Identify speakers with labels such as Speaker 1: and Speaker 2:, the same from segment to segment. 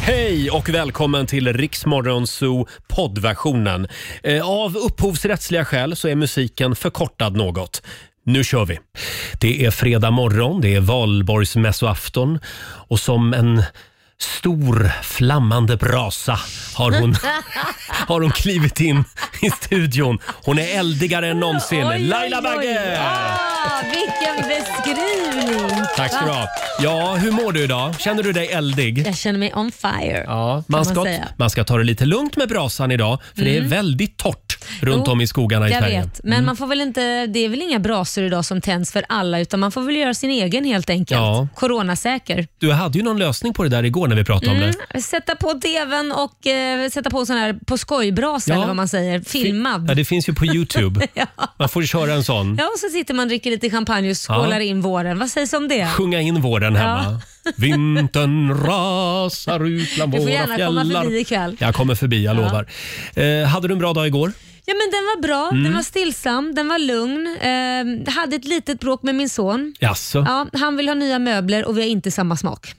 Speaker 1: Hej och välkommen till Riksmorgon Zoo poddversionen. Eh, Av upphovsrättsliga skäl så är musiken förkortad något. Nu kör vi! Det är fredag morgon, det är valborgsmässoafton och som en stor flammande brasa har hon, har hon klivit in i studion. Hon är eldigare än någonsin.
Speaker 2: Oj, oj,
Speaker 1: Laila
Speaker 2: oj.
Speaker 1: Bagge!
Speaker 2: Ah, vilken beskrivning!
Speaker 1: Tack ska du ha. Ja, hur mår du idag? Känner du dig eldig?
Speaker 2: Jag känner mig on fire.
Speaker 1: Ja,
Speaker 2: man
Speaker 1: man ska,
Speaker 2: säga. Mm.
Speaker 1: man ska ta det lite lugnt med brasan idag för det är väldigt torrt runt
Speaker 2: Jo,
Speaker 1: om i skogarna i Mm.
Speaker 2: Jag
Speaker 1: Sverige.
Speaker 2: vet, men man får väl inte, det är väl inga brasor idag som tänds för alla utan man får väl göra sin egen helt enkelt.
Speaker 1: Ja.
Speaker 2: Coronasäker.
Speaker 1: Du hade ju någon lösning på det där igår när vi pratade
Speaker 2: Mm.
Speaker 1: om det.
Speaker 2: Sätta på tvn och eh, sätta på sån här på skojbrasa
Speaker 1: Ja. Äh.
Speaker 2: eller vad man säger, filmad.
Speaker 1: Ja, det finns ju på Youtube. Man får köra en sån.
Speaker 2: Ja, och så sitter man och dricker lite champagne och
Speaker 1: Ja.
Speaker 2: skålar in våren. Vad sägs om det?
Speaker 1: Sjunga in våren hemma. Vintern rasar ut bland
Speaker 2: Du får
Speaker 1: våra
Speaker 2: gärna
Speaker 1: fjällar.
Speaker 2: komma förbi ikväll.
Speaker 1: Jag kommer förbi, jag lovar. Eh, hade du en bra dag igår?
Speaker 2: Ja, men den var bra,
Speaker 1: Mm.
Speaker 2: den var stillsam, den var lugn. Eh, hade ett litet bråk med min son.
Speaker 1: Jaså?
Speaker 2: Ja, han vill ha nya möbler och vi har inte samma smak.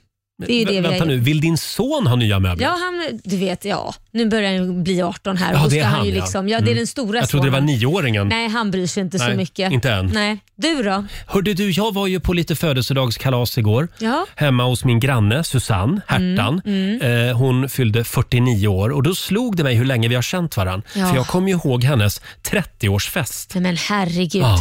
Speaker 2: Det är ju det
Speaker 1: Vä-
Speaker 2: vi har
Speaker 1: Vänta
Speaker 2: gjort.
Speaker 1: nu, vill din son ha nya möbler?
Speaker 2: Ja, han, du vet, ja. Nu börjar han ju bli 18 här.
Speaker 1: Ja,
Speaker 2: och
Speaker 1: det är
Speaker 2: ska
Speaker 1: han,
Speaker 2: ju
Speaker 1: ja. Mm.
Speaker 2: liksom, ja. det är den stora
Speaker 1: jag trodde det var
Speaker 2: sonen.
Speaker 1: nioåringen.
Speaker 2: Nej, han bryr sig inte
Speaker 1: Nej,
Speaker 2: så mycket.
Speaker 1: inte än.
Speaker 2: Nej. Du då?
Speaker 1: Hörde du, jag var ju på lite födelsedagskalas igår.
Speaker 2: Ja.
Speaker 1: Hemma hos min granne
Speaker 2: Mm,
Speaker 1: Susanne Hertan. Eh, hon fyllde 49 år och då slog det mig hur länge vi har känt varandra.
Speaker 2: Ja.
Speaker 1: För jag kommer ju ihåg hennes 30-årsfest.
Speaker 2: Nej, men herregud.
Speaker 1: Och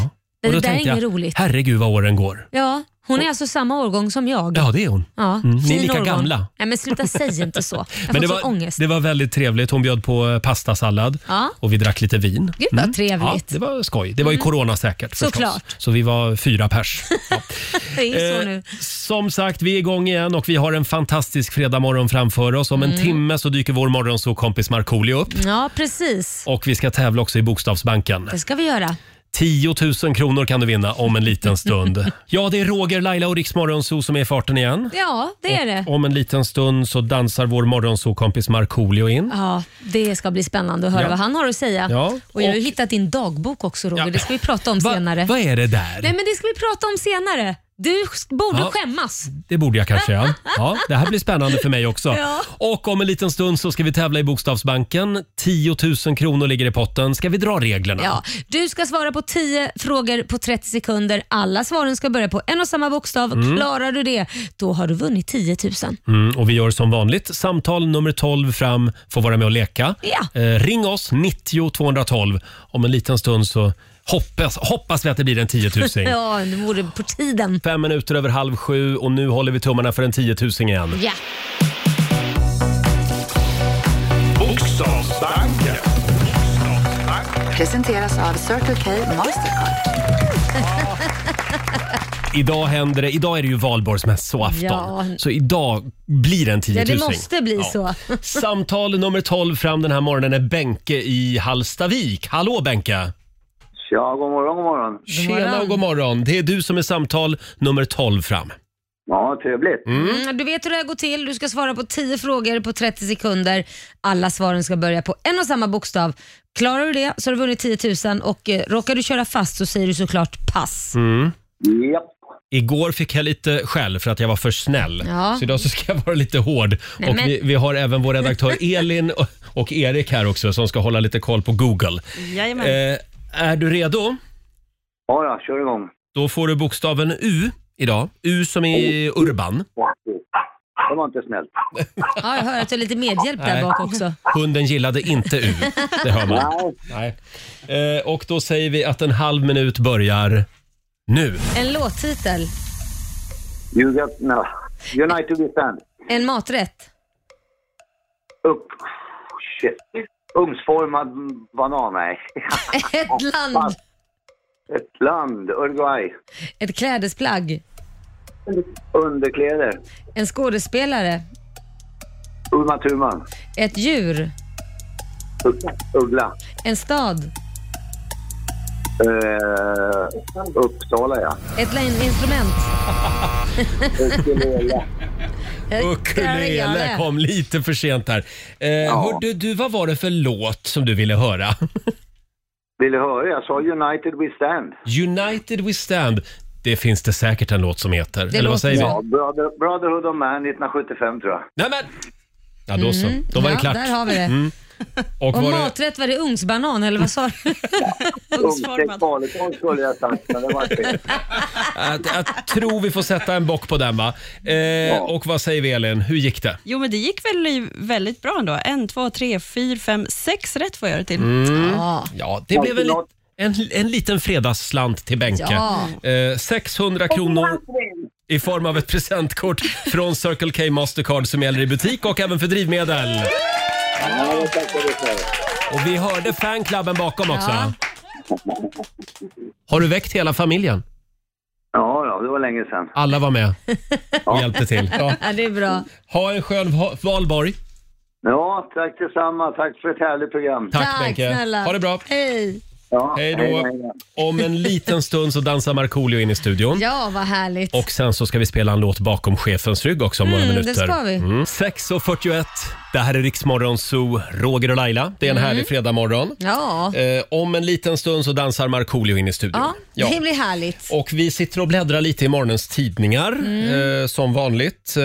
Speaker 1: då
Speaker 2: Det där är
Speaker 1: tänkte
Speaker 2: inget
Speaker 1: jag,
Speaker 2: roligt.
Speaker 1: Herregud vad åren går.
Speaker 2: Ja, hon är alltså samma årgång som jag.
Speaker 1: Ja, det är hon.
Speaker 2: Ja,
Speaker 1: ni är
Speaker 2: fin
Speaker 1: lika
Speaker 2: årgång.
Speaker 1: gamla.
Speaker 2: Nej, men sluta säg inte så. Jag
Speaker 1: Men
Speaker 2: har
Speaker 1: det
Speaker 2: fått sån
Speaker 1: var,
Speaker 2: ångest.
Speaker 1: det var väldigt trevligt. Hon bjöd på eh, pastasallad
Speaker 2: Ja.
Speaker 1: och vi drack lite vin. Mm.
Speaker 2: Gud, vad trevligt. Mm.
Speaker 1: Ja, det var skoj. Det var ju coronasäkert förstås.
Speaker 2: Såklart.
Speaker 1: Så vi var fyra pers. Ja.
Speaker 2: Det är ju så
Speaker 1: Eh,
Speaker 2: nu.
Speaker 1: Som sagt, vi är igång igen och vi har en fantastisk fredagmorgon framför oss. Om en
Speaker 2: Mm.
Speaker 1: timme så dyker vår morgonsåkompis Markoolio upp.
Speaker 2: Ja, precis.
Speaker 1: Och vi ska tävla också i Bokstavsbanken.
Speaker 2: Det ska vi göra.
Speaker 1: 10 000 kronor kan du vinna om en liten stund. ja, det är Roger, Laila och Riks Morgonzoo som är i farten igen.
Speaker 2: Ja, det är det.
Speaker 1: Om en liten stund så dansar vår morgonsokompis Markoolio in.
Speaker 2: Ja, det ska bli spännande att höra
Speaker 1: Ja.
Speaker 2: vad han har att säga.
Speaker 1: Ja,
Speaker 2: Och jag har ju
Speaker 1: och-
Speaker 2: hittat din dagbok också Roger,
Speaker 1: Ja.
Speaker 2: det ska vi prata om
Speaker 1: Va-
Speaker 2: senare.
Speaker 1: Vad är det där?
Speaker 2: Nej men det ska vi prata om senare. Du sk- borde
Speaker 1: Ja.
Speaker 2: skämmas.
Speaker 1: Det borde jag kanske, ja. ja. Det här blir spännande för mig också.
Speaker 2: Ja.
Speaker 1: Och om en liten stund så ska vi tävla i Bokstavsbanken. 10 000 kronor ligger i potten. Ska vi dra reglerna?
Speaker 2: Ja. Du ska svara på 10 frågor på 30 sekunder. Alla svaren ska börja på en och samma bokstav. Klarar du det, då har du vunnit 10 000.
Speaker 1: Mm, och vi gör som vanligt. Samtal nummer 12 fram får vara med och leka.
Speaker 2: Ja.
Speaker 1: Eh, ring oss, 90 212. Om en liten stund så hoppas, hoppas vi att det blir en 10 000.
Speaker 2: Ja, det vore på tiden.
Speaker 1: Fem minuter över halv sju och nu håller vi tummarna för en 10 000 igen.
Speaker 2: Ja.
Speaker 3: Bokstavsbanken.
Speaker 4: Presenteras av Circle K Mastercard.
Speaker 1: Idag händer det. Idag är det ju valborgsmässoafton.
Speaker 2: Ja.
Speaker 1: Så idag blir det en 10
Speaker 2: ja,
Speaker 1: 000.
Speaker 2: det måste bli så.
Speaker 1: Samtal nummer 12 fram den här morgonen är Benke i Halstavik. Hallå Benke!
Speaker 5: Ja, god morgon, god morgon.
Speaker 1: Tjena och god morgon. Det är du som är samtal nummer 12 fram.
Speaker 5: Ja, trevligt.
Speaker 2: Mm, du vet hur det här går till. Du ska svara på 10 frågor på 30 sekunder. Alla svaren ska börja på en och samma bokstav. Klarar du det så har du vunnit 10 000 och eh, råkar du köra fast så säger du såklart pass.
Speaker 1: Mm.
Speaker 5: Japp.
Speaker 1: Igår fick jag lite skäll för att jag var för snäll.
Speaker 2: Ja.
Speaker 1: Så idag så ska jag vara lite hård.
Speaker 2: Nej,
Speaker 1: och
Speaker 2: men-
Speaker 1: vi, vi har även vår redaktör Elin och- och Erik här också som ska hålla lite koll på Google.
Speaker 6: Jajamän.
Speaker 1: Eh, är du redo?
Speaker 5: Ja, då, kör igång.
Speaker 1: Då får du bokstaven U idag. U som i Urban.
Speaker 5: Det var inte snällt.
Speaker 2: Ja, jag hör att du har lite medhjälp
Speaker 1: Nej.
Speaker 2: där bak också.
Speaker 1: Hunden gillade inte U. Det hör man.
Speaker 5: Nej.
Speaker 1: Nej. Eh, och då säger vi att en halv minut börjar nu.
Speaker 2: En låttitel,
Speaker 5: You got, no. United we stand.
Speaker 2: en maträtt,
Speaker 5: Upp. Shit. Ugnsformad banan, nej.
Speaker 2: Mm. ett land,
Speaker 5: Ett land, Uruguay.
Speaker 2: ett klädesplagg,
Speaker 5: Underkläder.
Speaker 2: en skådespelare,
Speaker 5: Uma Thurman.
Speaker 2: ett djur,
Speaker 5: U- Uggla.
Speaker 2: en stad,
Speaker 5: Uh, Uppsala, ja.
Speaker 2: ett lä- instrument.
Speaker 5: Ukulele.
Speaker 2: Eh,
Speaker 1: Ukulele kom lite för sent här. Eh, Hörde du, vad var det för låt som du ville höra?
Speaker 5: Vill du höra? Jag sa United we stand.
Speaker 1: United We Stand. Det finns det säkert en låt som heter. Eller vad
Speaker 2: låter
Speaker 1: säger
Speaker 2: så.
Speaker 1: du?
Speaker 5: Ja, Brother, Brotherhood of Man 1975, tror jag.
Speaker 1: Nej men! Ja, då så. Då var
Speaker 2: Mm, ja,
Speaker 1: det klart.
Speaker 2: Där har vi det.
Speaker 1: Och
Speaker 2: Och
Speaker 1: var det...
Speaker 2: maträtt, var det ugnsbanan eller vad sa du?
Speaker 5: Ugnsstekt
Speaker 3: Ugnsformad.
Speaker 5: falukorv skulle jag sagt, men det var fel.
Speaker 1: Jag, jag tror vi får sätta en bock på den va? Eh, Och vad säger vi Elin, hur gick det?
Speaker 3: Jo, men det gick väl i- väldigt bra ändå. En, två, tre, fyra, fem, sex rätt får jag det till.
Speaker 1: Mm.
Speaker 2: Ja.
Speaker 1: Ja, det blev en, li- en, en liten fredagsslant till Benke.
Speaker 2: Ja.
Speaker 1: Eh, 600 kronor i form av ett presentkort från Circle K Mastercard som gäller i butik och även för drivmedel.
Speaker 5: Ja, det tackar vi för.
Speaker 1: Och vi hörde fanklubben bakom också. Har du väckt hela familjen?
Speaker 5: Ja, ja, det var länge sedan.
Speaker 1: Alla var med och hjälpte till. Ja.
Speaker 2: ja, det är bra.
Speaker 1: Ha en skön va- valborg.
Speaker 5: Ja, tack detsamma. Tack för ett härligt program.
Speaker 1: Tack,
Speaker 2: Tack,
Speaker 1: Benke.
Speaker 2: snälla.
Speaker 1: Ha det bra.
Speaker 2: Hej!
Speaker 5: Ja,
Speaker 1: Hej då. Om en liten stund så dansar Markoolio in i studion.
Speaker 2: Ja, vad härligt.
Speaker 1: Och sen så ska vi spela en låt bakom chefens rygg också om några
Speaker 2: Mm, det
Speaker 1: minuter.
Speaker 2: ska vi.
Speaker 1: Mm. 6.41, det här är Riksmorgon Zoo, Roger och Laila. Det är en härlig fredagmorgon.
Speaker 2: Mm. Ja,
Speaker 1: Eh, om en liten stund så dansar Markoolio in i studion.
Speaker 2: ja. det blir härligt.
Speaker 1: Och vi sitter och bläddrar lite i morgonens tidningar,
Speaker 2: Mm.
Speaker 1: eh, som vanligt. Eh,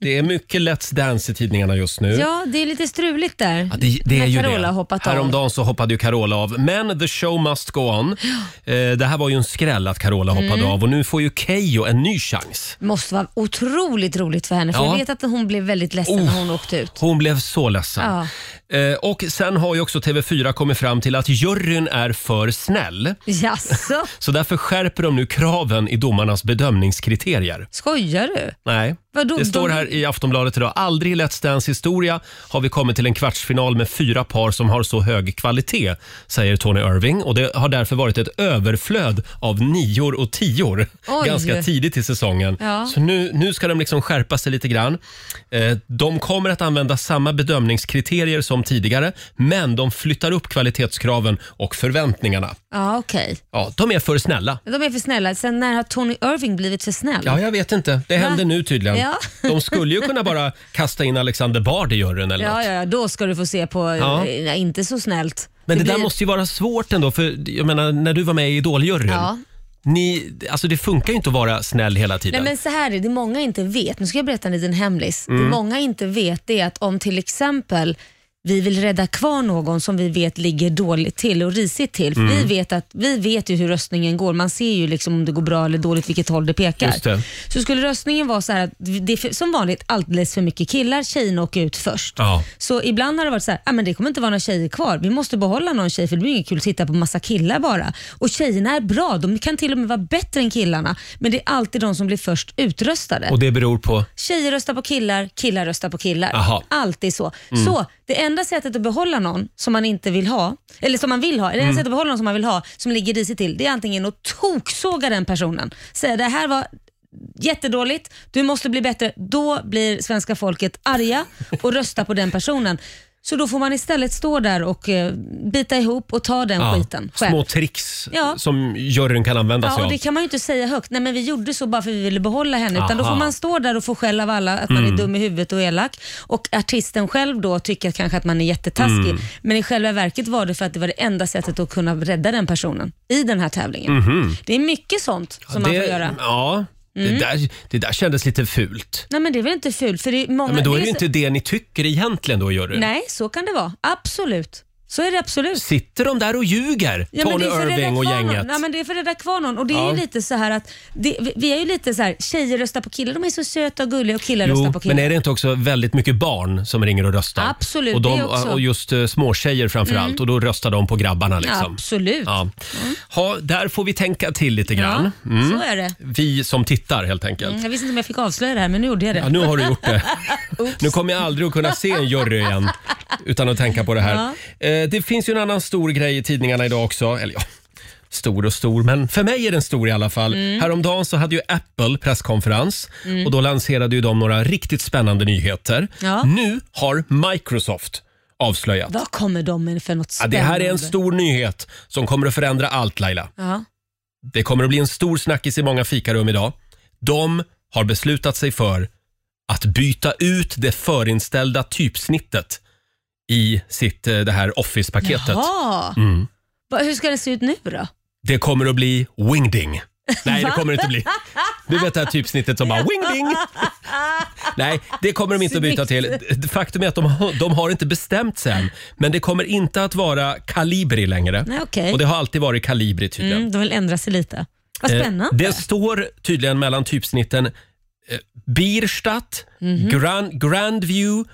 Speaker 1: det är mycket Let's Dance i tidningarna just nu.
Speaker 2: Ja, det är lite struligt där.
Speaker 1: Ja, det, det är
Speaker 2: När
Speaker 1: ju
Speaker 2: Carola
Speaker 1: det.
Speaker 2: har hoppat av.
Speaker 1: Häromdagen så hoppade ju Carola av. Men the show must go on. Eh, det här var ju en skräll att Carola hoppade
Speaker 2: Mm.
Speaker 1: av och nu får ju Keyyo en ny chans.
Speaker 2: måste vara otroligt roligt för henne. För
Speaker 1: Ja. Oh.
Speaker 2: Jag vet att hon blev väldigt ledsen när hon åkte ut.
Speaker 1: Hon blev så ledsen. Eh, och sen har ju också TV4 kommit fram till att juryn är för snäll.
Speaker 2: Jaså,
Speaker 1: Så därför skärper de nu kraven i domarnas bedömningskriterier.
Speaker 2: skojar du?
Speaker 1: Nej,
Speaker 2: Vadå,
Speaker 1: det
Speaker 2: de-
Speaker 1: står här i Aftonbladet idag. Aldrig i Let's Dance historia har vi kommit till en kvartsfinal med fyra par som har så hög kvalitet, säger Tony Irving. Och det har därför varit ett överflöd av nior och tior
Speaker 2: Oj.
Speaker 1: ganska tidigt i säsongen.
Speaker 2: Ja.
Speaker 1: Så nu, nu ska de liksom skärpa sig lite grann. Eh, de kommer att använda samma bedömningskriterier som tidigare, men de flyttar upp kvalitetskraven och förväntningarna.
Speaker 2: Ja, okej.
Speaker 1: Ja, de är för snälla.
Speaker 2: De är för snälla. Sen när har Tony Irving blivit för snäll?
Speaker 1: Ja, jag vet inte. Det händer nu tydligen.
Speaker 2: Ja.
Speaker 1: De skulle ju kunna bara kasta in Alexander Bard i juryn eller
Speaker 2: Ja,
Speaker 1: något.
Speaker 2: ja, ja, då ska du få se på,
Speaker 1: Ja.
Speaker 2: eh, inte så snällt.
Speaker 1: Men det, där
Speaker 2: blir-
Speaker 1: måste ju vara svårt ändå, för jag menar, när du var med i Idoljuryn.
Speaker 2: Ja.
Speaker 1: Ni, alltså det funkar ju inte att vara snäll hela tiden.
Speaker 2: Nej, men så här är det, det många inte vet, nu ska jag berätta en liten hemlis.
Speaker 1: Mm.
Speaker 2: Det många inte vet det är att om till exempel vi vill rädda kvar någon som vi vet ligger dåligt till och risigt till. För
Speaker 1: Mm.
Speaker 2: vi, vet att, vi vet ju hur röstningen går, man ser ju liksom om det går bra eller dåligt, vilket håll det pekar.
Speaker 1: Just det.
Speaker 2: Så skulle röstningen vara så här att det är för, som vanligt alldeles för mycket killar, tjejerna åker ut först.
Speaker 1: Ja.
Speaker 2: Så ibland har det varit så här, ah, men det kommer inte vara några tjejer kvar. Vi måste behålla någon tjej för det blir inget kul att titta på massa killar bara. Och tjejerna är bra, de kan till och med vara bättre än killarna. Men det är alltid de som blir först utröstade.
Speaker 1: Och det beror på...
Speaker 2: Tjejer röstar på killar, killar röstar på killar.
Speaker 1: Aha. Mm.
Speaker 2: Alltid så. Så det enda sättet att behålla någon som man inte vill ha, eller som man vill ha, det enda
Speaker 1: Mm.
Speaker 2: sättet att behålla någon som man vill ha, som ligger risigt till, det är antingen att toksåga den personen. Säga det här var jättedåligt, du måste bli bättre. Då blir svenska folket arga och röstar på den personen. Så då får man istället stå där och eh, bita ihop och ta den
Speaker 1: ja,
Speaker 2: skiten själv.
Speaker 1: små tricks
Speaker 2: Ja.
Speaker 1: som juryn kan använda sig
Speaker 2: Ja, och
Speaker 1: av.
Speaker 2: det kan man ju inte säga högt. Nej, men vi gjorde så bara för vi ville behålla henne. Utan då
Speaker 1: Aha. Mm.
Speaker 2: får man stå där och få skäll av alla att man är dum i huvudet och elak. Och artisten själv då tycker kanske att man är jättetaskig.
Speaker 1: Mm.
Speaker 2: Men i själva verket var det för att det var det enda sättet att kunna rädda den personen i den här tävlingen. Det är mycket sånt som man
Speaker 1: Mhm. Det-
Speaker 2: får göra. Mm.
Speaker 1: Ja, det, där, det där kändes lite fult.
Speaker 2: Nej, men det är väl inte fult? För det är många,
Speaker 1: Ja, men då är det ju
Speaker 2: så-
Speaker 1: inte det ni tycker egentligen då i juryn.
Speaker 2: Nej, så kan det vara. Absolut. Så är det absolut.
Speaker 1: Sitter de där och ljuger,
Speaker 2: men
Speaker 1: Tony
Speaker 2: det är för att rädda
Speaker 1: Irving och
Speaker 2: kvar
Speaker 1: gänget?
Speaker 2: Någon. Nej, men det är för att rädda kvar någon. Och det är
Speaker 1: Ja.
Speaker 2: ju lite så här att det, vi- vi är ju lite så här, tjejer röstar på killar, de är så söta och gulliga och killar röstar
Speaker 1: Jo,
Speaker 2: på killar.
Speaker 1: men är det inte också väldigt mycket barn som ringer och röstar?
Speaker 2: Absolut,
Speaker 1: Och,
Speaker 2: det också. Mm.
Speaker 1: och just eh, småtjejer framför allt och då röstar de på grabbarna liksom.
Speaker 2: Absolut. Mm.
Speaker 1: Ja. Ha, där får vi tänka till lite grann.
Speaker 2: Ja, Så är det.
Speaker 1: Vi som tittar helt enkelt.
Speaker 2: Mm, Jag visste inte om jag fick avslöja det här, men nu gjorde jag det.
Speaker 1: Ja, nu har du gjort det. nu kommer jag aldrig att kunna se en jury igen utan att tänka på det här. Eh, det finns ju en annan stor grej i tidningarna idag också. Eller ja, stor och stor, men för mig är den stor i alla fall.
Speaker 2: Mm.
Speaker 1: Häromdagen så hade ju Apple presskonferens och då lanserade ju de några riktigt spännande nyheter.
Speaker 2: Ja.
Speaker 1: Nu har Microsoft avslöjat.
Speaker 2: Vad kommer de med för något
Speaker 1: Ja,
Speaker 2: spännande?
Speaker 1: det här är en stor nyhet som kommer att förändra allt Laila.
Speaker 2: Ja.
Speaker 1: Det kommer att bli en stor snackis i många fikarum idag. De har beslutat sig för att byta ut det förinställda typsnittet i sitt, eh, det här Office-paketet. Mm.
Speaker 2: Jaha. Va, Hur ska det se ut nu då?
Speaker 1: Det kommer att bli wingding. Nej, det kommer det inte bli. Du vet det här typsnittet som bara wingding. Nej, det kommer de inte att byta till. Faktum är att de, har- de har inte bestämt sig än. Men det kommer inte att vara Calibri längre.
Speaker 2: Nej, okej.
Speaker 1: Och det har alltid varit Calibri tydligen.
Speaker 2: Mm, de vill ändra sig lite. Vad
Speaker 1: Eh,
Speaker 2: spännande.
Speaker 1: Det står tydligen mellan typsnitten eh, Bierstadt,
Speaker 2: Mhm.
Speaker 1: Gran, Grandview,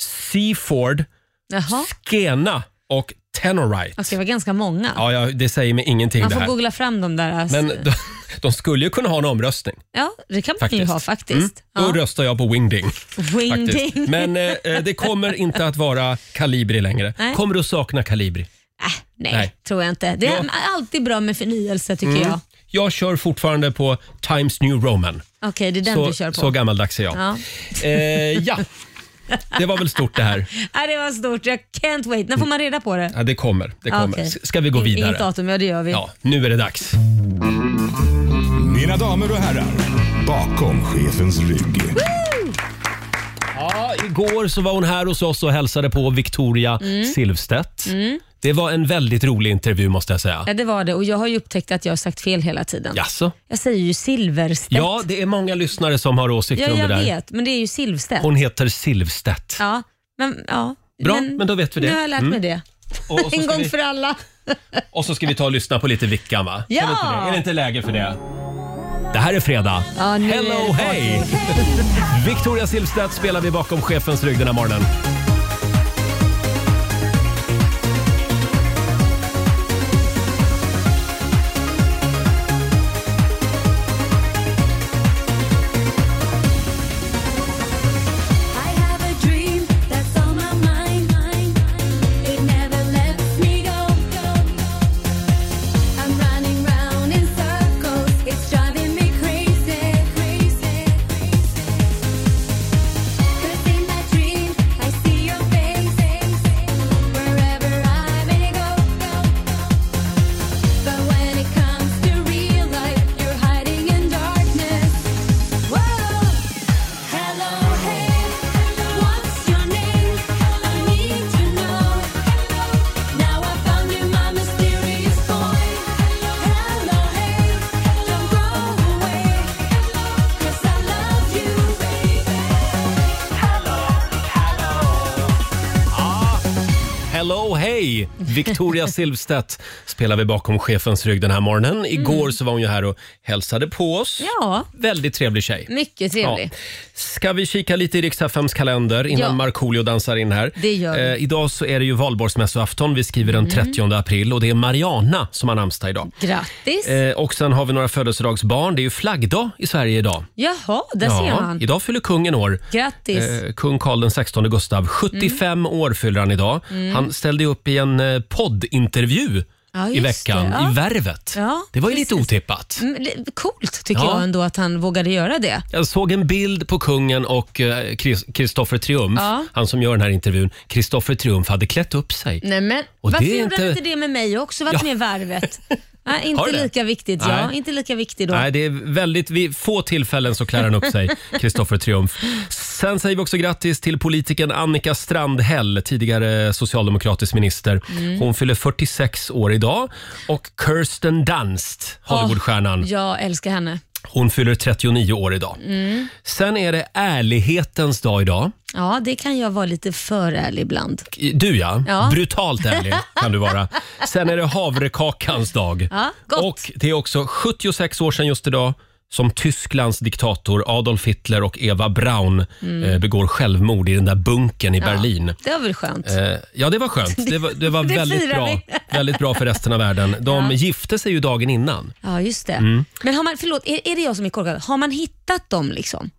Speaker 1: Seaford,
Speaker 2: Jaha.
Speaker 1: Skena och Tenorite.
Speaker 2: Alltså, det var ganska många.
Speaker 1: Ja, ja, det säger mig ingenting
Speaker 2: Man
Speaker 1: det
Speaker 2: får
Speaker 1: här.
Speaker 2: googla fram de där. Alltså.
Speaker 1: Men de, de skulle ju kunna ha en omröstning.
Speaker 2: ja, det kan man ju
Speaker 1: Faktiskt. Mm.
Speaker 2: ha faktiskt.
Speaker 1: Då
Speaker 2: Ja.
Speaker 1: röstar jag på Wingding.
Speaker 2: Wingding.
Speaker 1: Faktiskt. Men eh, eh, det kommer inte att vara Kalibri längre.
Speaker 2: Nej.
Speaker 1: Kommer du att sakna Kalibri?
Speaker 2: Äh, nej,
Speaker 1: Nej. Mm.
Speaker 2: tror jag inte. Det är
Speaker 1: Ja.
Speaker 2: alltid bra med förnyelse tycker jag.
Speaker 1: Jag kör fortfarande på Times New Roman.
Speaker 2: Okej, det är den du kör
Speaker 1: Så,
Speaker 2: på.
Speaker 1: så gammaldags är jag.
Speaker 2: Ja.
Speaker 1: Eh, ja, det var väl stort det här.
Speaker 2: Nej, Äh, det var stort. Jag can't wait. När får man reda på det?
Speaker 1: Mm. Ja, det kommer. Det kommer.
Speaker 2: Okej.
Speaker 1: S- Ska vi gå
Speaker 2: In-
Speaker 1: vidare?
Speaker 2: Inget datum, ja det gör vi.
Speaker 1: Ja, nu är det dags.
Speaker 6: Mina damer och herrar, bakom chefens rygg.
Speaker 1: Ja, igår så var hon här hos oss och hälsade på Victoria
Speaker 2: Mm.
Speaker 1: Silvstedt. Det var en väldigt rolig intervju måste jag säga.
Speaker 2: Ja, det var det. Och jag har ju upptäckt att jag har sagt fel hela tiden.
Speaker 1: Jaså?
Speaker 2: Jag säger ju Silverstedt.
Speaker 1: Ja, det är många lyssnare som har åsikter
Speaker 2: ja
Speaker 1: om det
Speaker 2: jag
Speaker 1: där.
Speaker 2: vet. Men det är ju Silvstedt.
Speaker 1: Hon heter Silvstedt.
Speaker 2: Ja, men ja.
Speaker 1: Bra, men då vet vi det. Mm.
Speaker 2: Nu har jag lärt mig det.
Speaker 1: Och, och, så
Speaker 2: En
Speaker 1: ska
Speaker 2: gång
Speaker 1: vi,
Speaker 2: för alla.
Speaker 1: och så ska vi ta och lyssna på lite Vickan va?
Speaker 2: Ja!
Speaker 1: Är, det inte det? är det inte läge för det? Det här är fredag.
Speaker 2: Ja, nu är det
Speaker 1: Hello,
Speaker 2: party.
Speaker 1: hej! Victoria Silvstedt spelar vi bakom chefens rygg den här morgonen.
Speaker 7: I have a dream that's on my mind. It never lets me go. I'm running round in circles. It's driving me crazy, crazy, crazy. 'Cause in that dream I see your face wherever I may go. But when it comes to real life, you're hiding in darkness. Whoa. Hello, hey, what's your name? I need to know. Now I found you, my mysterious boy. Hello, hey, don't go away, 'cause I love you, baby.
Speaker 1: Hello, hej! Victoria Silvstedt spelar vi bakom chefens rygg den här morgonen. Igår så var hon ju här och hälsade på oss.
Speaker 2: Mm. Ja, Mm.
Speaker 1: Väldigt trevlig tjej.
Speaker 2: mycket trevlig.
Speaker 1: Ska vi kika lite i Riks-FMs kalender innan
Speaker 2: Ja.
Speaker 1: Markoolio dansar in här? Eh,
Speaker 2: Det gör vi. Mm.
Speaker 1: idag så är det ju valborgsmässoafton. Vi skriver den 30 april och det är Mariana som har namnsdag idag.
Speaker 2: Grattis.
Speaker 1: Eh, och sen har vi några födelsedagsbarn. Det är ju flaggdag i Sverige idag.
Speaker 2: Jaha, där ser man.
Speaker 1: idag fyller kungen år.
Speaker 2: Grattis. Mm.
Speaker 1: Eh, Kung Carl XVI Gustav, 75 år fyller han idag. Han ställde ju upp i en eh, poddintervju
Speaker 2: Ja, just
Speaker 1: i veckan
Speaker 2: det, ja.
Speaker 1: i Värvet.
Speaker 2: Ja,
Speaker 1: det var ju lite
Speaker 2: precis.
Speaker 1: otippat.
Speaker 2: Mm, det- Coolt tycker
Speaker 1: Ja.
Speaker 2: jag ändå att han vågade göra det.
Speaker 1: Jag såg en bild på kungen och Kristoffer Triumf,
Speaker 2: Ja.
Speaker 1: han som gör den här intervjun. Kristoffer Triumf hade klätt upp sig.
Speaker 2: Nej, men,
Speaker 1: Och
Speaker 2: varför
Speaker 1: det är
Speaker 2: gjorde han
Speaker 1: inte-
Speaker 2: inte det med mig också? Varit
Speaker 1: Ja.
Speaker 2: med i Värvet? Nej,
Speaker 1: Har du
Speaker 2: inte
Speaker 1: det?
Speaker 2: lika viktigt. Ja,
Speaker 1: Nej.
Speaker 2: inte lika viktigt då.
Speaker 1: Nej, det är väldigt vid få tillfällen så klär han upp sig, Kristoffer Triumf. Sen säger vi också grattis till politikern Annika Strandhäll, tidigare socialdemokratisk minister. Hon fyller 46 år idag. Och Kirsten Dunst, Hollywoodstjärnan,
Speaker 2: Jag älskar henne.
Speaker 1: hon fyller 39 år idag. Sen är det ärlighetens dag idag.
Speaker 2: Ja, det kan jag vara lite för ärlig ibland.
Speaker 1: Du ja,
Speaker 2: Ja.
Speaker 1: brutalt ärlig kan du vara. Sen är det havrekakans dag.
Speaker 2: Ja, gott.
Speaker 1: Och det är också 76 år sedan just idag som Tysklands diktator Adolf Hitler och Eva Braun
Speaker 2: Mm.
Speaker 1: eh, begår självmord i den där bunkern i Berlin.
Speaker 2: Det var väl skönt?
Speaker 1: Eh, Ja, det var skönt. Det var, det var
Speaker 2: Det
Speaker 1: väldigt,
Speaker 2: firar
Speaker 1: bra. väldigt bra för resten av världen. De gifte sig ju dagen innan.
Speaker 2: Ja, just det.
Speaker 1: Mm.
Speaker 2: Men har man, förlåt, är, är det jag som är korkad? Har man hittat dem liksom?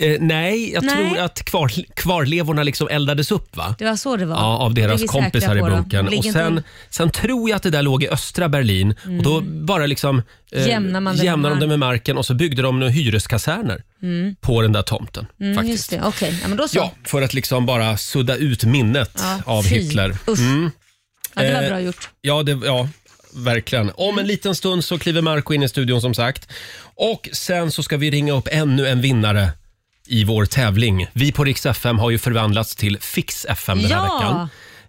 Speaker 1: Eh, nej, jag
Speaker 2: Nej.
Speaker 1: tror att kvar, kvarlevorna liksom eldades upp va?
Speaker 2: Det var så det var?
Speaker 1: Ja, av
Speaker 2: Det är
Speaker 1: deras
Speaker 2: vi säkra
Speaker 1: kompisar i
Speaker 2: på då.
Speaker 1: bunkern.
Speaker 2: Ligger
Speaker 1: Och
Speaker 2: inte
Speaker 1: sen,
Speaker 2: de-
Speaker 1: sen tror jag att det där låg i östra Berlin och då bara liksom
Speaker 2: Mm. Jämnar man det med
Speaker 1: jämnade de det
Speaker 2: marken.
Speaker 1: med marken och så byggde de några hyreskaserner på den där tomten.
Speaker 2: Mm,
Speaker 1: faktiskt.
Speaker 2: just det, okej. Ja, men då så.
Speaker 1: Ja,
Speaker 2: Ja.
Speaker 1: för att liksom bara sudda ut minnet av
Speaker 2: fy.
Speaker 1: Hitler. Mm.
Speaker 2: Usch. Ja, det var
Speaker 1: Eh,
Speaker 2: bra gjort.
Speaker 1: Ja, det, ja, verkligen.
Speaker 2: Mm.
Speaker 1: Om en liten stund så kliver Marco in i studion som sagt. Och sen så ska vi ringa upp ännu en vinnare i vår tävling. Vi på Rix FM har ju förvandlats till Fix FM den här
Speaker 2: Ja.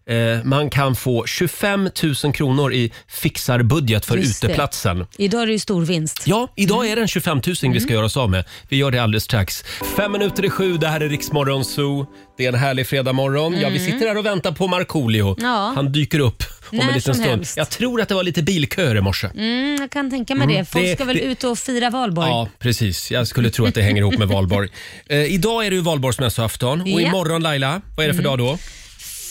Speaker 1: veckan. Eh, man kan få 25 000 kronor i fixarbudget för
Speaker 2: Just det.
Speaker 1: uteplatsen.
Speaker 2: Idag är det ju stor vinst.
Speaker 1: Ja, idag
Speaker 2: Mm.
Speaker 1: är det en 25 000 vi ska göra oss av med. Vi gör det alldeles strax. Fem minuter i sju, det här är Riksmorgon Zoo. Det är en härlig fredagmorgon. Ja, vi sitter här och väntar på Markoolio.
Speaker 2: Mm. Ja.
Speaker 1: Han dyker upp om
Speaker 2: När
Speaker 1: en liten
Speaker 2: som
Speaker 1: stund.
Speaker 2: helst.
Speaker 1: Jag tror att det var lite bilköer i morse.
Speaker 2: Mm, jag kan tänka mig det. Folk
Speaker 1: det-
Speaker 2: ska väl
Speaker 1: det-
Speaker 2: ut och fira valborg.
Speaker 1: Ja, precis. Jag skulle tro att det hänger ihop med valborg. Eh, idag är det ju valborgsmässoafton och
Speaker 2: Ja. Mm.
Speaker 1: imorgon Laila, vad är det för dag då?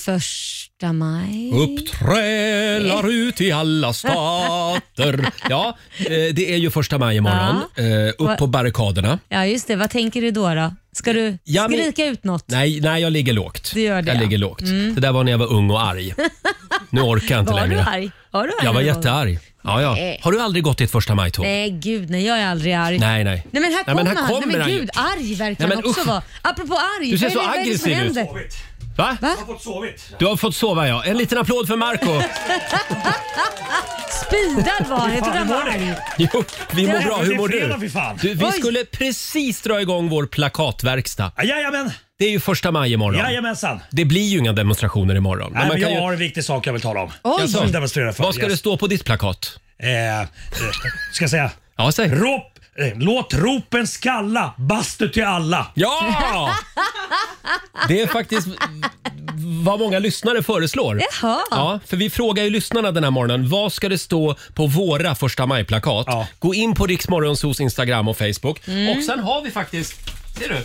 Speaker 2: Första maj.
Speaker 1: Uppträlar ut i alla stater. Ja, eh, det är ju första maj imorgon. Eh, upp på barrikaderna.
Speaker 2: Ja, just det. Vad tänker du då? då? Ska du
Speaker 1: Ja, men-
Speaker 2: skrika ut något?
Speaker 1: Nej, nej jag ligger lågt.
Speaker 2: Du gör
Speaker 1: jag
Speaker 2: det, ja. Mm.
Speaker 1: ligger lågt. Det där var när jag var ung och arg. Nu orkar jag inte
Speaker 2: Var
Speaker 1: längre.
Speaker 2: du arg? Var du arg
Speaker 1: Jag var
Speaker 2: någon gång?
Speaker 1: jättearg. Ja, ja.
Speaker 2: Nej.
Speaker 1: Har du aldrig gått ditt första maj-tåg?
Speaker 2: Nej, gud nej. Jag är aldrig arg.
Speaker 1: Nej, nej.
Speaker 2: Nej men här kommer han. Nej, men
Speaker 1: han ju.
Speaker 2: gud, arg verkar
Speaker 1: Nej,
Speaker 2: han
Speaker 1: men
Speaker 2: också
Speaker 1: usch.
Speaker 2: vara. Apropå arg.
Speaker 1: Du ser
Speaker 2: vad är
Speaker 1: så
Speaker 2: det- vad är det som
Speaker 1: aggressiv ut.
Speaker 2: händer?
Speaker 1: Va?
Speaker 2: Va?
Speaker 1: Du har fått sova ja. En liten applåd för Marco
Speaker 2: Speedad var han. Jag trodde han var arg.
Speaker 1: Jo, vi mår
Speaker 2: Ja.
Speaker 1: bra. Hur mår
Speaker 8: Det är fredag,
Speaker 1: du?
Speaker 8: fy fan.
Speaker 1: du vi
Speaker 2: Oj.
Speaker 1: skulle precis dra igång vår plakatverkstad.
Speaker 8: Ja, Jajamän,
Speaker 1: Det är ju första maj imorgon.
Speaker 8: jajamensan.
Speaker 1: Det blir ju inga demonstrationer imorgon. Men
Speaker 8: Nej,
Speaker 1: kan
Speaker 8: men jag
Speaker 1: ju-
Speaker 8: har en viktig sak jag vill tala om.
Speaker 1: Jaså?
Speaker 8: Jag vill demonstrera för.
Speaker 1: Vad ska
Speaker 8: yes.
Speaker 1: det stå på ditt plakat?
Speaker 8: Eh, eh, ska jag säga?
Speaker 1: Ja, säg.
Speaker 8: Rop, eh, låt ropen skalla, bastu till alla.
Speaker 1: Ja! Det är faktiskt vad många lyssnare föreslår.
Speaker 2: Jaha.
Speaker 1: Ja, för vi frågar ju lyssnarna den här morgonen. Vad ska det stå på våra första maj-plakat?
Speaker 8: Ja.
Speaker 1: Gå in på Riksmorgonsos Instagram och Facebook.
Speaker 2: Mm.
Speaker 1: Och sen har vi faktiskt, ser du?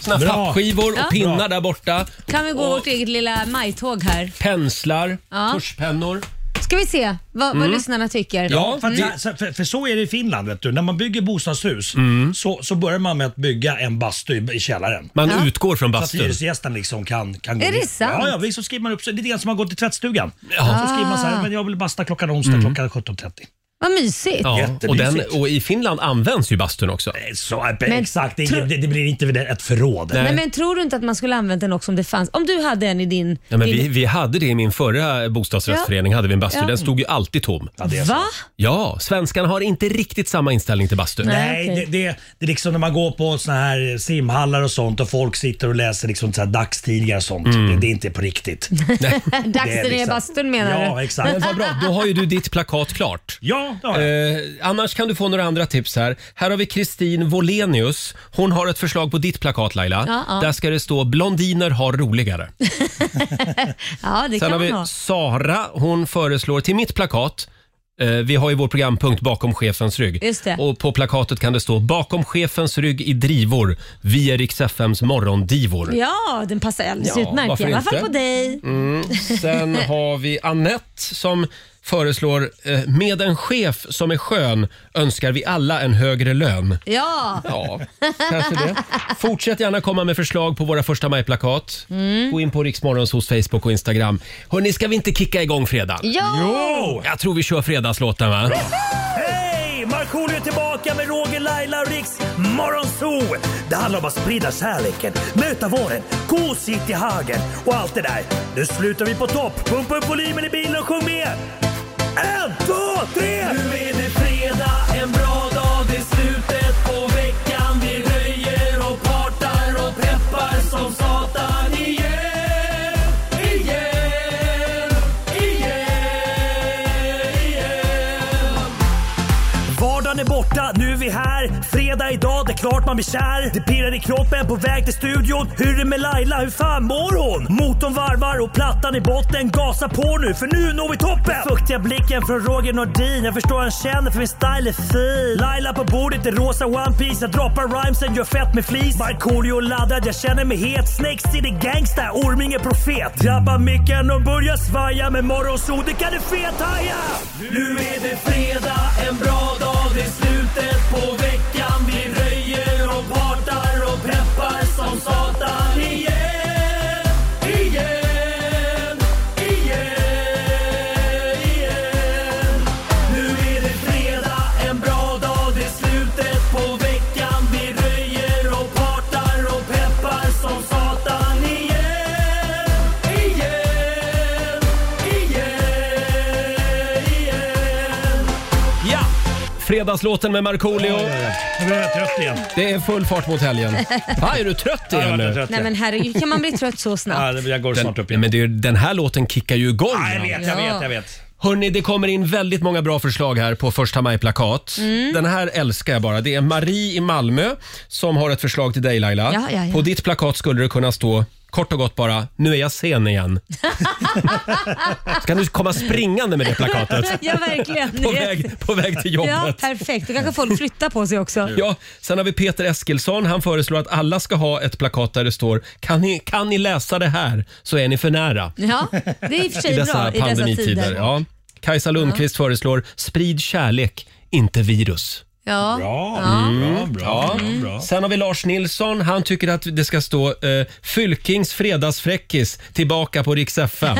Speaker 1: Såna här
Speaker 8: Bra.
Speaker 1: pappskivor och
Speaker 2: Ja.
Speaker 1: pinnar
Speaker 8: Bra.
Speaker 1: där borta.
Speaker 2: Kan vi gå
Speaker 1: Och-
Speaker 2: vårt eget lilla majtåg här?
Speaker 1: Penslar,
Speaker 2: Ja.
Speaker 1: tuschpennor.
Speaker 2: Ska vi se vad, vad lyssnarna tycker?
Speaker 1: Mm. Ja,
Speaker 8: För, att, så- för, för så är det i Finland. Vet du. När man bygger bostadshus
Speaker 1: Mm.
Speaker 8: så, så börjar man med att bygga en bastu i, i källaren.
Speaker 1: Man utgår från
Speaker 8: Så att
Speaker 1: bastun.
Speaker 8: hyresgästen liksom kan, kan gå
Speaker 2: Är det
Speaker 8: in.
Speaker 2: sant?
Speaker 8: Ja, ja visst, så skriver man upp sig. Lite grann som man går till tvättstugan. Så skriver man så här, men jag vill basta klockan onsdag
Speaker 1: Mm.
Speaker 8: klockan 17.30.
Speaker 2: Vad mysigt.
Speaker 1: Ja, och, den,
Speaker 8: Jättemysigt.
Speaker 1: och i Finland används ju bastun också.
Speaker 8: Så, eh, exakt, det, är ingen- det, det blir inte ett förråd.
Speaker 2: Nej, men tror du inte att man skulle använt den också om det fanns? Om du hade en i din...
Speaker 1: Ja, men
Speaker 2: din
Speaker 1: vi, vi hade det i min förra bostadsrättsförening. Hade vi en bastu.
Speaker 2: Ja.
Speaker 1: Den stod ju alltid tom.
Speaker 8: Ja, det är så.
Speaker 2: Va?
Speaker 1: Ja, svenskarna har inte riktigt samma inställning till bastu.
Speaker 2: Nej,
Speaker 8: Nej,
Speaker 2: Ah, okej.
Speaker 8: det, det, det är liksom när man går på såna här simhallar och sånt och folk sitter och läser liksom så här dagstidningar och sånt. Det, det är inte på riktigt.
Speaker 2: Dags
Speaker 8: Det är
Speaker 2: den är i
Speaker 8: liksom-
Speaker 2: bastun menar
Speaker 8: ja,
Speaker 2: du?
Speaker 1: Men
Speaker 8: exakt.
Speaker 1: vad bra, då har ju du ditt plakat klart.
Speaker 8: Ja, det har jag.
Speaker 1: Eh, annars kan du få några andra tips här. Här har vi Kristin Volenius. Hon har ett förslag på ditt plakat Laila.
Speaker 2: Ja, ja.
Speaker 1: Där ska det stå blondiner har roligare.
Speaker 2: Ja, det
Speaker 1: Sen
Speaker 2: kan
Speaker 1: har
Speaker 2: man
Speaker 1: vi
Speaker 2: ha.
Speaker 1: Sara. Hon föreslår till mitt plakat eh, vi har ju vår programpunkt bakom chefens rygg.
Speaker 2: Just det.
Speaker 1: Och på plakatet kan det stå bakom chefens rygg i drivor. Vi är Rix FMs morgondivor.
Speaker 2: Ja, den passar alldeles
Speaker 1: Ja,
Speaker 2: utmärkt. I
Speaker 1: varför
Speaker 2: alla fall
Speaker 1: inte?
Speaker 2: på dig.
Speaker 1: Sen har vi Annette som föreslår eh, “Med en chef som är skön önskar vi alla en högre lön”.
Speaker 2: Ja,
Speaker 1: Ja, kanske det. Fortsätt gärna komma med förslag på våra första maj-plakat.
Speaker 8: Mm.
Speaker 1: Gå in på Riksmorgons hos Facebook och Instagram. Hörni, ska vi inte kicka igång fredag?
Speaker 2: ja.
Speaker 8: Jo!
Speaker 1: Jag tror vi kör fredagslåten va?
Speaker 8: Hej! Markoolio är tillbaka med Roger, Laila och Riks Morgonzoo! Det handlar om att sprida kärleken, möta våren, gosigt i hagen och allt det där. Nu slutar vi på topp! Pumpa upp volymen i bilen och sjung med! En, två, tre! Nu är det fredag, en bra dag, det är slutet på veckan. Vi röjer och partar och peppar som satan igen, igen, igen, igen. Vardagen är borta, nu är vi här. Fredag idag, det är klart man blir kär. Det pirrar i kroppen på väg till studion. Hur är det med Laila, hur fan mår hon? Motorn varvar och plattan i botten. Gasa på nu, för nu når vi toppen! Den fuktiga blicken från Roger Nordin. Jag förstår han känner för min style är fin. Laila på bordet i rosa One Piece Jag droppar rhymesen, gör fett med flis. Markoolio laddad, jag känner mig het. Snakes city gangsta, Orminge profet. Drabbar micken och börjar svaja. Med morgonsol, det kan du fethaja! Nu är det fredag, en bra dag. Det är slutet på veckan. Vi röjer och partar och peppar som satan. Igen, igen, igen, igen. Nu är det fredag, en bra dag. Det är slutet på veckan. Vi röjer och partar och peppar som satan. Igen, igen, igen, igen.
Speaker 1: Ja! Fredagslåten med Markoolio.
Speaker 8: Nu blir jag trött igen.
Speaker 1: Det är full fart mot helgen. Va, är du trött
Speaker 8: Ja,
Speaker 1: igen
Speaker 8: jag blir
Speaker 1: nu?
Speaker 8: trött
Speaker 2: Nej
Speaker 8: igen.
Speaker 2: men herregud, kan man bli trött så snabbt?
Speaker 8: Ja, det- jag går snart upp
Speaker 1: Den,
Speaker 8: igen.
Speaker 1: men det är, ju- den här låten kickar ju igång.
Speaker 8: Ja, jag
Speaker 1: va?
Speaker 8: vet, jag vet, jag vet.
Speaker 1: Hörni, det kommer in väldigt många bra förslag här på första maj-plakat.
Speaker 2: Mm.
Speaker 1: Den här älskar jag bara. Det är Marie i Malmö som har ett förslag till dig Laila.
Speaker 2: Ja, ja, ja.
Speaker 1: På ditt plakat skulle det kunna stå kort och gott bara, nu är jag sen igen. Ska du komma springande med det plakatet?
Speaker 2: Ja verkligen.
Speaker 1: Alltså, På
Speaker 2: Det-
Speaker 1: väg, på väg till
Speaker 2: Ja,
Speaker 1: jobbet.
Speaker 2: perfekt. Då kanske folk flyttar på sig också.
Speaker 1: Ja, sen har vi Peter Eskilsson. Han föreslår att alla ska ha ett plakat där det står “Kan ni, kan ni läsa det här så är ni för nära”
Speaker 2: Ja, det är i och för
Speaker 1: i
Speaker 2: sig
Speaker 1: dessa
Speaker 2: bra i dessa
Speaker 1: pandemitider.
Speaker 2: tider. Ja.
Speaker 1: Ja. Kajsa Lundqvist föreslår “Sprid kärlek, inte virus”.
Speaker 8: Bra, bra,
Speaker 1: Mm.
Speaker 8: bra,
Speaker 2: Mm.
Speaker 8: bra, Mm. bra.
Speaker 1: Sen har vi Lars Nilsson. Han tycker att det ska stå eh, “Fylkings fredagsfräckis tillbaka på Rix FM”.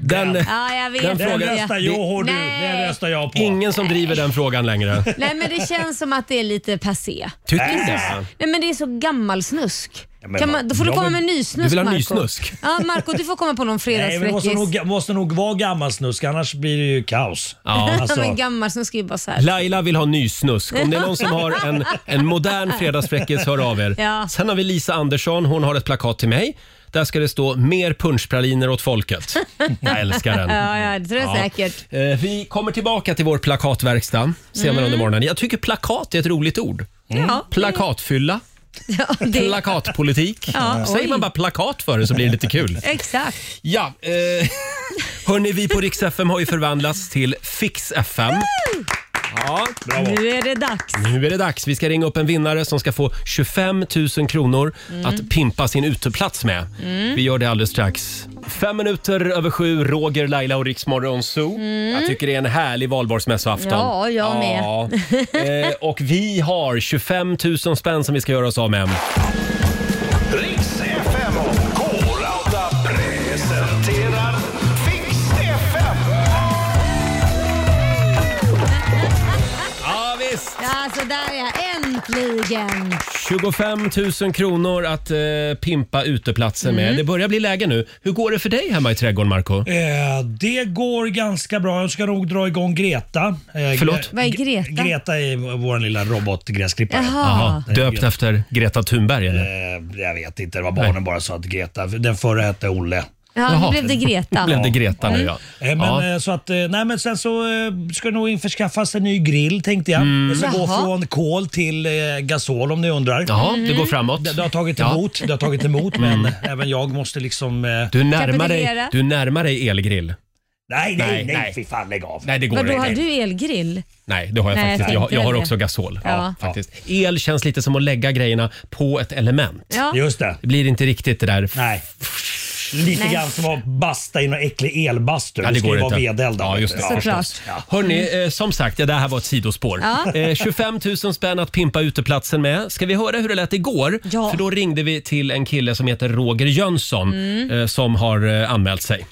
Speaker 1: Den,
Speaker 2: Ja, jag vet.
Speaker 1: Den
Speaker 8: Den
Speaker 1: frågan-
Speaker 8: röstar jag, du. Den
Speaker 2: Nej.
Speaker 8: röstar jag på.
Speaker 1: ingen som driver den frågan längre.
Speaker 2: Nej men det känns som att det är lite passé.
Speaker 1: Tycker du det?
Speaker 2: Nej men det är så gammal snusk.
Speaker 8: men
Speaker 2: Kan
Speaker 8: vad-
Speaker 2: man, då får du
Speaker 8: ja,
Speaker 2: komma
Speaker 8: men-
Speaker 2: med ny
Speaker 1: Du
Speaker 2: snusk
Speaker 1: vill ha
Speaker 2: Marco.
Speaker 1: ny snusk?
Speaker 2: Ja Marco du får komma på någon
Speaker 8: Nej, men det måste
Speaker 2: fredagsfräckis.
Speaker 8: nog, måste nog vara gammal snusk annars blir det ju kaos.
Speaker 1: Ja.
Speaker 2: Ja,
Speaker 8: Alltså,
Speaker 2: men gammal snusk är ju bara så här.
Speaker 1: Laila vill ha nysnusk. Om det är någon som har en, en modern fredagsfräckis, hör av er.
Speaker 2: Ja.
Speaker 1: Sen har vi Lisa Andersson. Hon har ett plakat till mig. Där ska det stå “Mer punschpraliner åt folket”. Jag älskar den.
Speaker 2: Ja, ja det tror jag
Speaker 1: Ja.
Speaker 2: säkert.
Speaker 1: Eh, Vi kommer tillbaka till vår plakatverkstad senare under morgonen. Jag tycker plakat är ett roligt ord.
Speaker 2: Mm. Ja,
Speaker 1: Plakatfylla,
Speaker 2: ja, det,
Speaker 1: plakatpolitik.
Speaker 2: Ja,
Speaker 1: Säger
Speaker 2: oj.
Speaker 1: man bara plakat för det så blir det lite kul.
Speaker 2: exakt.
Speaker 1: Ja, eh, hörni, vi på Rix FM har ju förvandlats till Fix FM. Ja,
Speaker 2: Nu är det dags.
Speaker 1: nu är det dags. Vi ska ringa upp en vinnare som ska få 25 000 kronor att pimpa sin uteplats med. Vi gör det alldeles strax. Fem minuter över sju, Roger, Laila och Riksmorgon Zoo. Jag tycker det är en härlig valborgsmässoafton.
Speaker 2: Ja, jag med.
Speaker 1: med. eh, och vi har 25 000 spänn som vi ska göra oss av med.
Speaker 9: Riks FM och K-Rauta presenterar Fix FM.
Speaker 1: Ja, visst.
Speaker 2: Ja, så där är jag. Äntligen!
Speaker 1: 25 000 kronor att eh, pimpa uteplatser med. Det börjar bli läge nu. Hur går det för dig hemma i trädgården, Marco?
Speaker 8: eh, det går ganska bra. Jag ska nog dra igång Greta. Eh,
Speaker 1: Förlåt?
Speaker 2: Vad är Greta?
Speaker 8: Greta är vår lilla robotgräsklippare.
Speaker 2: Jaha.
Speaker 1: Jaha, döpt efter Greta Thunberg, eller?
Speaker 8: Eh, jag vet inte, det var barnen bara sa att Greta, den förra hette Olle.
Speaker 2: Ja,
Speaker 1: Jaha.
Speaker 2: nu blev det Greta. Mm.
Speaker 1: blev det Greta nu ja.
Speaker 8: Eh, Men,
Speaker 1: ja.
Speaker 8: eh, så att, eh, nej, men sen så eh, ska det nog införskaffas en ny grill tänkte jag.
Speaker 1: Mm.
Speaker 8: Det ska gå
Speaker 2: Jaha.
Speaker 8: från kol till eh, gasol om ni undrar.
Speaker 1: Jaha, det
Speaker 2: Mm.
Speaker 1: går framåt.
Speaker 8: Det, det har tagit emot, det har tagit emot men även jag måste liksom... eh,
Speaker 1: Mm. Du närmar, dig,
Speaker 2: Kapitulera.
Speaker 1: du närmar dig elgrill.
Speaker 8: nej, nej, nej,
Speaker 1: nej.
Speaker 8: fy fan lägg av.
Speaker 1: Nej, det går
Speaker 2: Vadå,
Speaker 1: inte.
Speaker 2: har du elgrill?
Speaker 1: Nej, det har jag
Speaker 2: Nej, jag
Speaker 1: faktiskt. Jag,
Speaker 2: tänkte
Speaker 1: jag har
Speaker 2: väl det.
Speaker 1: också gasol.
Speaker 2: Ja.
Speaker 1: Ja, faktiskt. El känns lite som att lägga grejerna på ett element.
Speaker 2: Ja.
Speaker 8: Just det.
Speaker 1: Det blir inte riktigt det där.
Speaker 8: Nej. Lite
Speaker 2: Nej.
Speaker 8: grann som att basta i någon äcklig elbastu.
Speaker 1: Ja, det
Speaker 8: det ska
Speaker 1: går
Speaker 8: ju vara
Speaker 1: inte.
Speaker 8: vedeldad.
Speaker 1: Ja, just det.
Speaker 8: Ja.
Speaker 2: Såklart.
Speaker 1: Hörni, eh, som sagt, ja, det här var ett sidospår.
Speaker 2: Mm. Ja.
Speaker 1: Eh, 25 000 spänn att pimpa uteplatsen med. Ska vi höra hur det lät igår?
Speaker 2: Ja.
Speaker 1: För då ringde vi till en kille som heter Roger Jönsson
Speaker 2: Mm.
Speaker 1: eh, som har eh, anmält sig.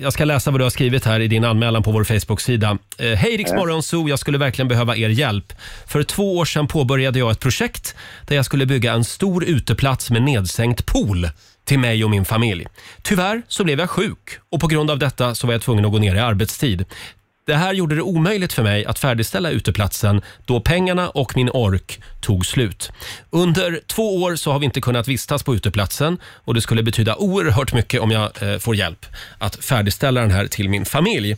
Speaker 1: Jag ska läsa vad du har skrivit här i din anmälan på vår Facebook-sida. Eh, Hej Rix Morgonzoo, jag skulle verkligen behöva er hjälp. För två år sedan påbörjade jag ett projekt där jag skulle bygga en stor uteplats med nedsänkt pool till mig och min familj. Tyvärr så blev jag sjuk och på grund av detta så var jag tvungen att gå ner i arbetstid. Det här gjorde det omöjligt för mig att färdigställa uteplatsen då pengarna och min ork tog slut. Under två år så har vi inte kunnat vistas på uteplatsen och det skulle betyda oerhört mycket om jag eh, får hjälp att färdigställa den här till min familj.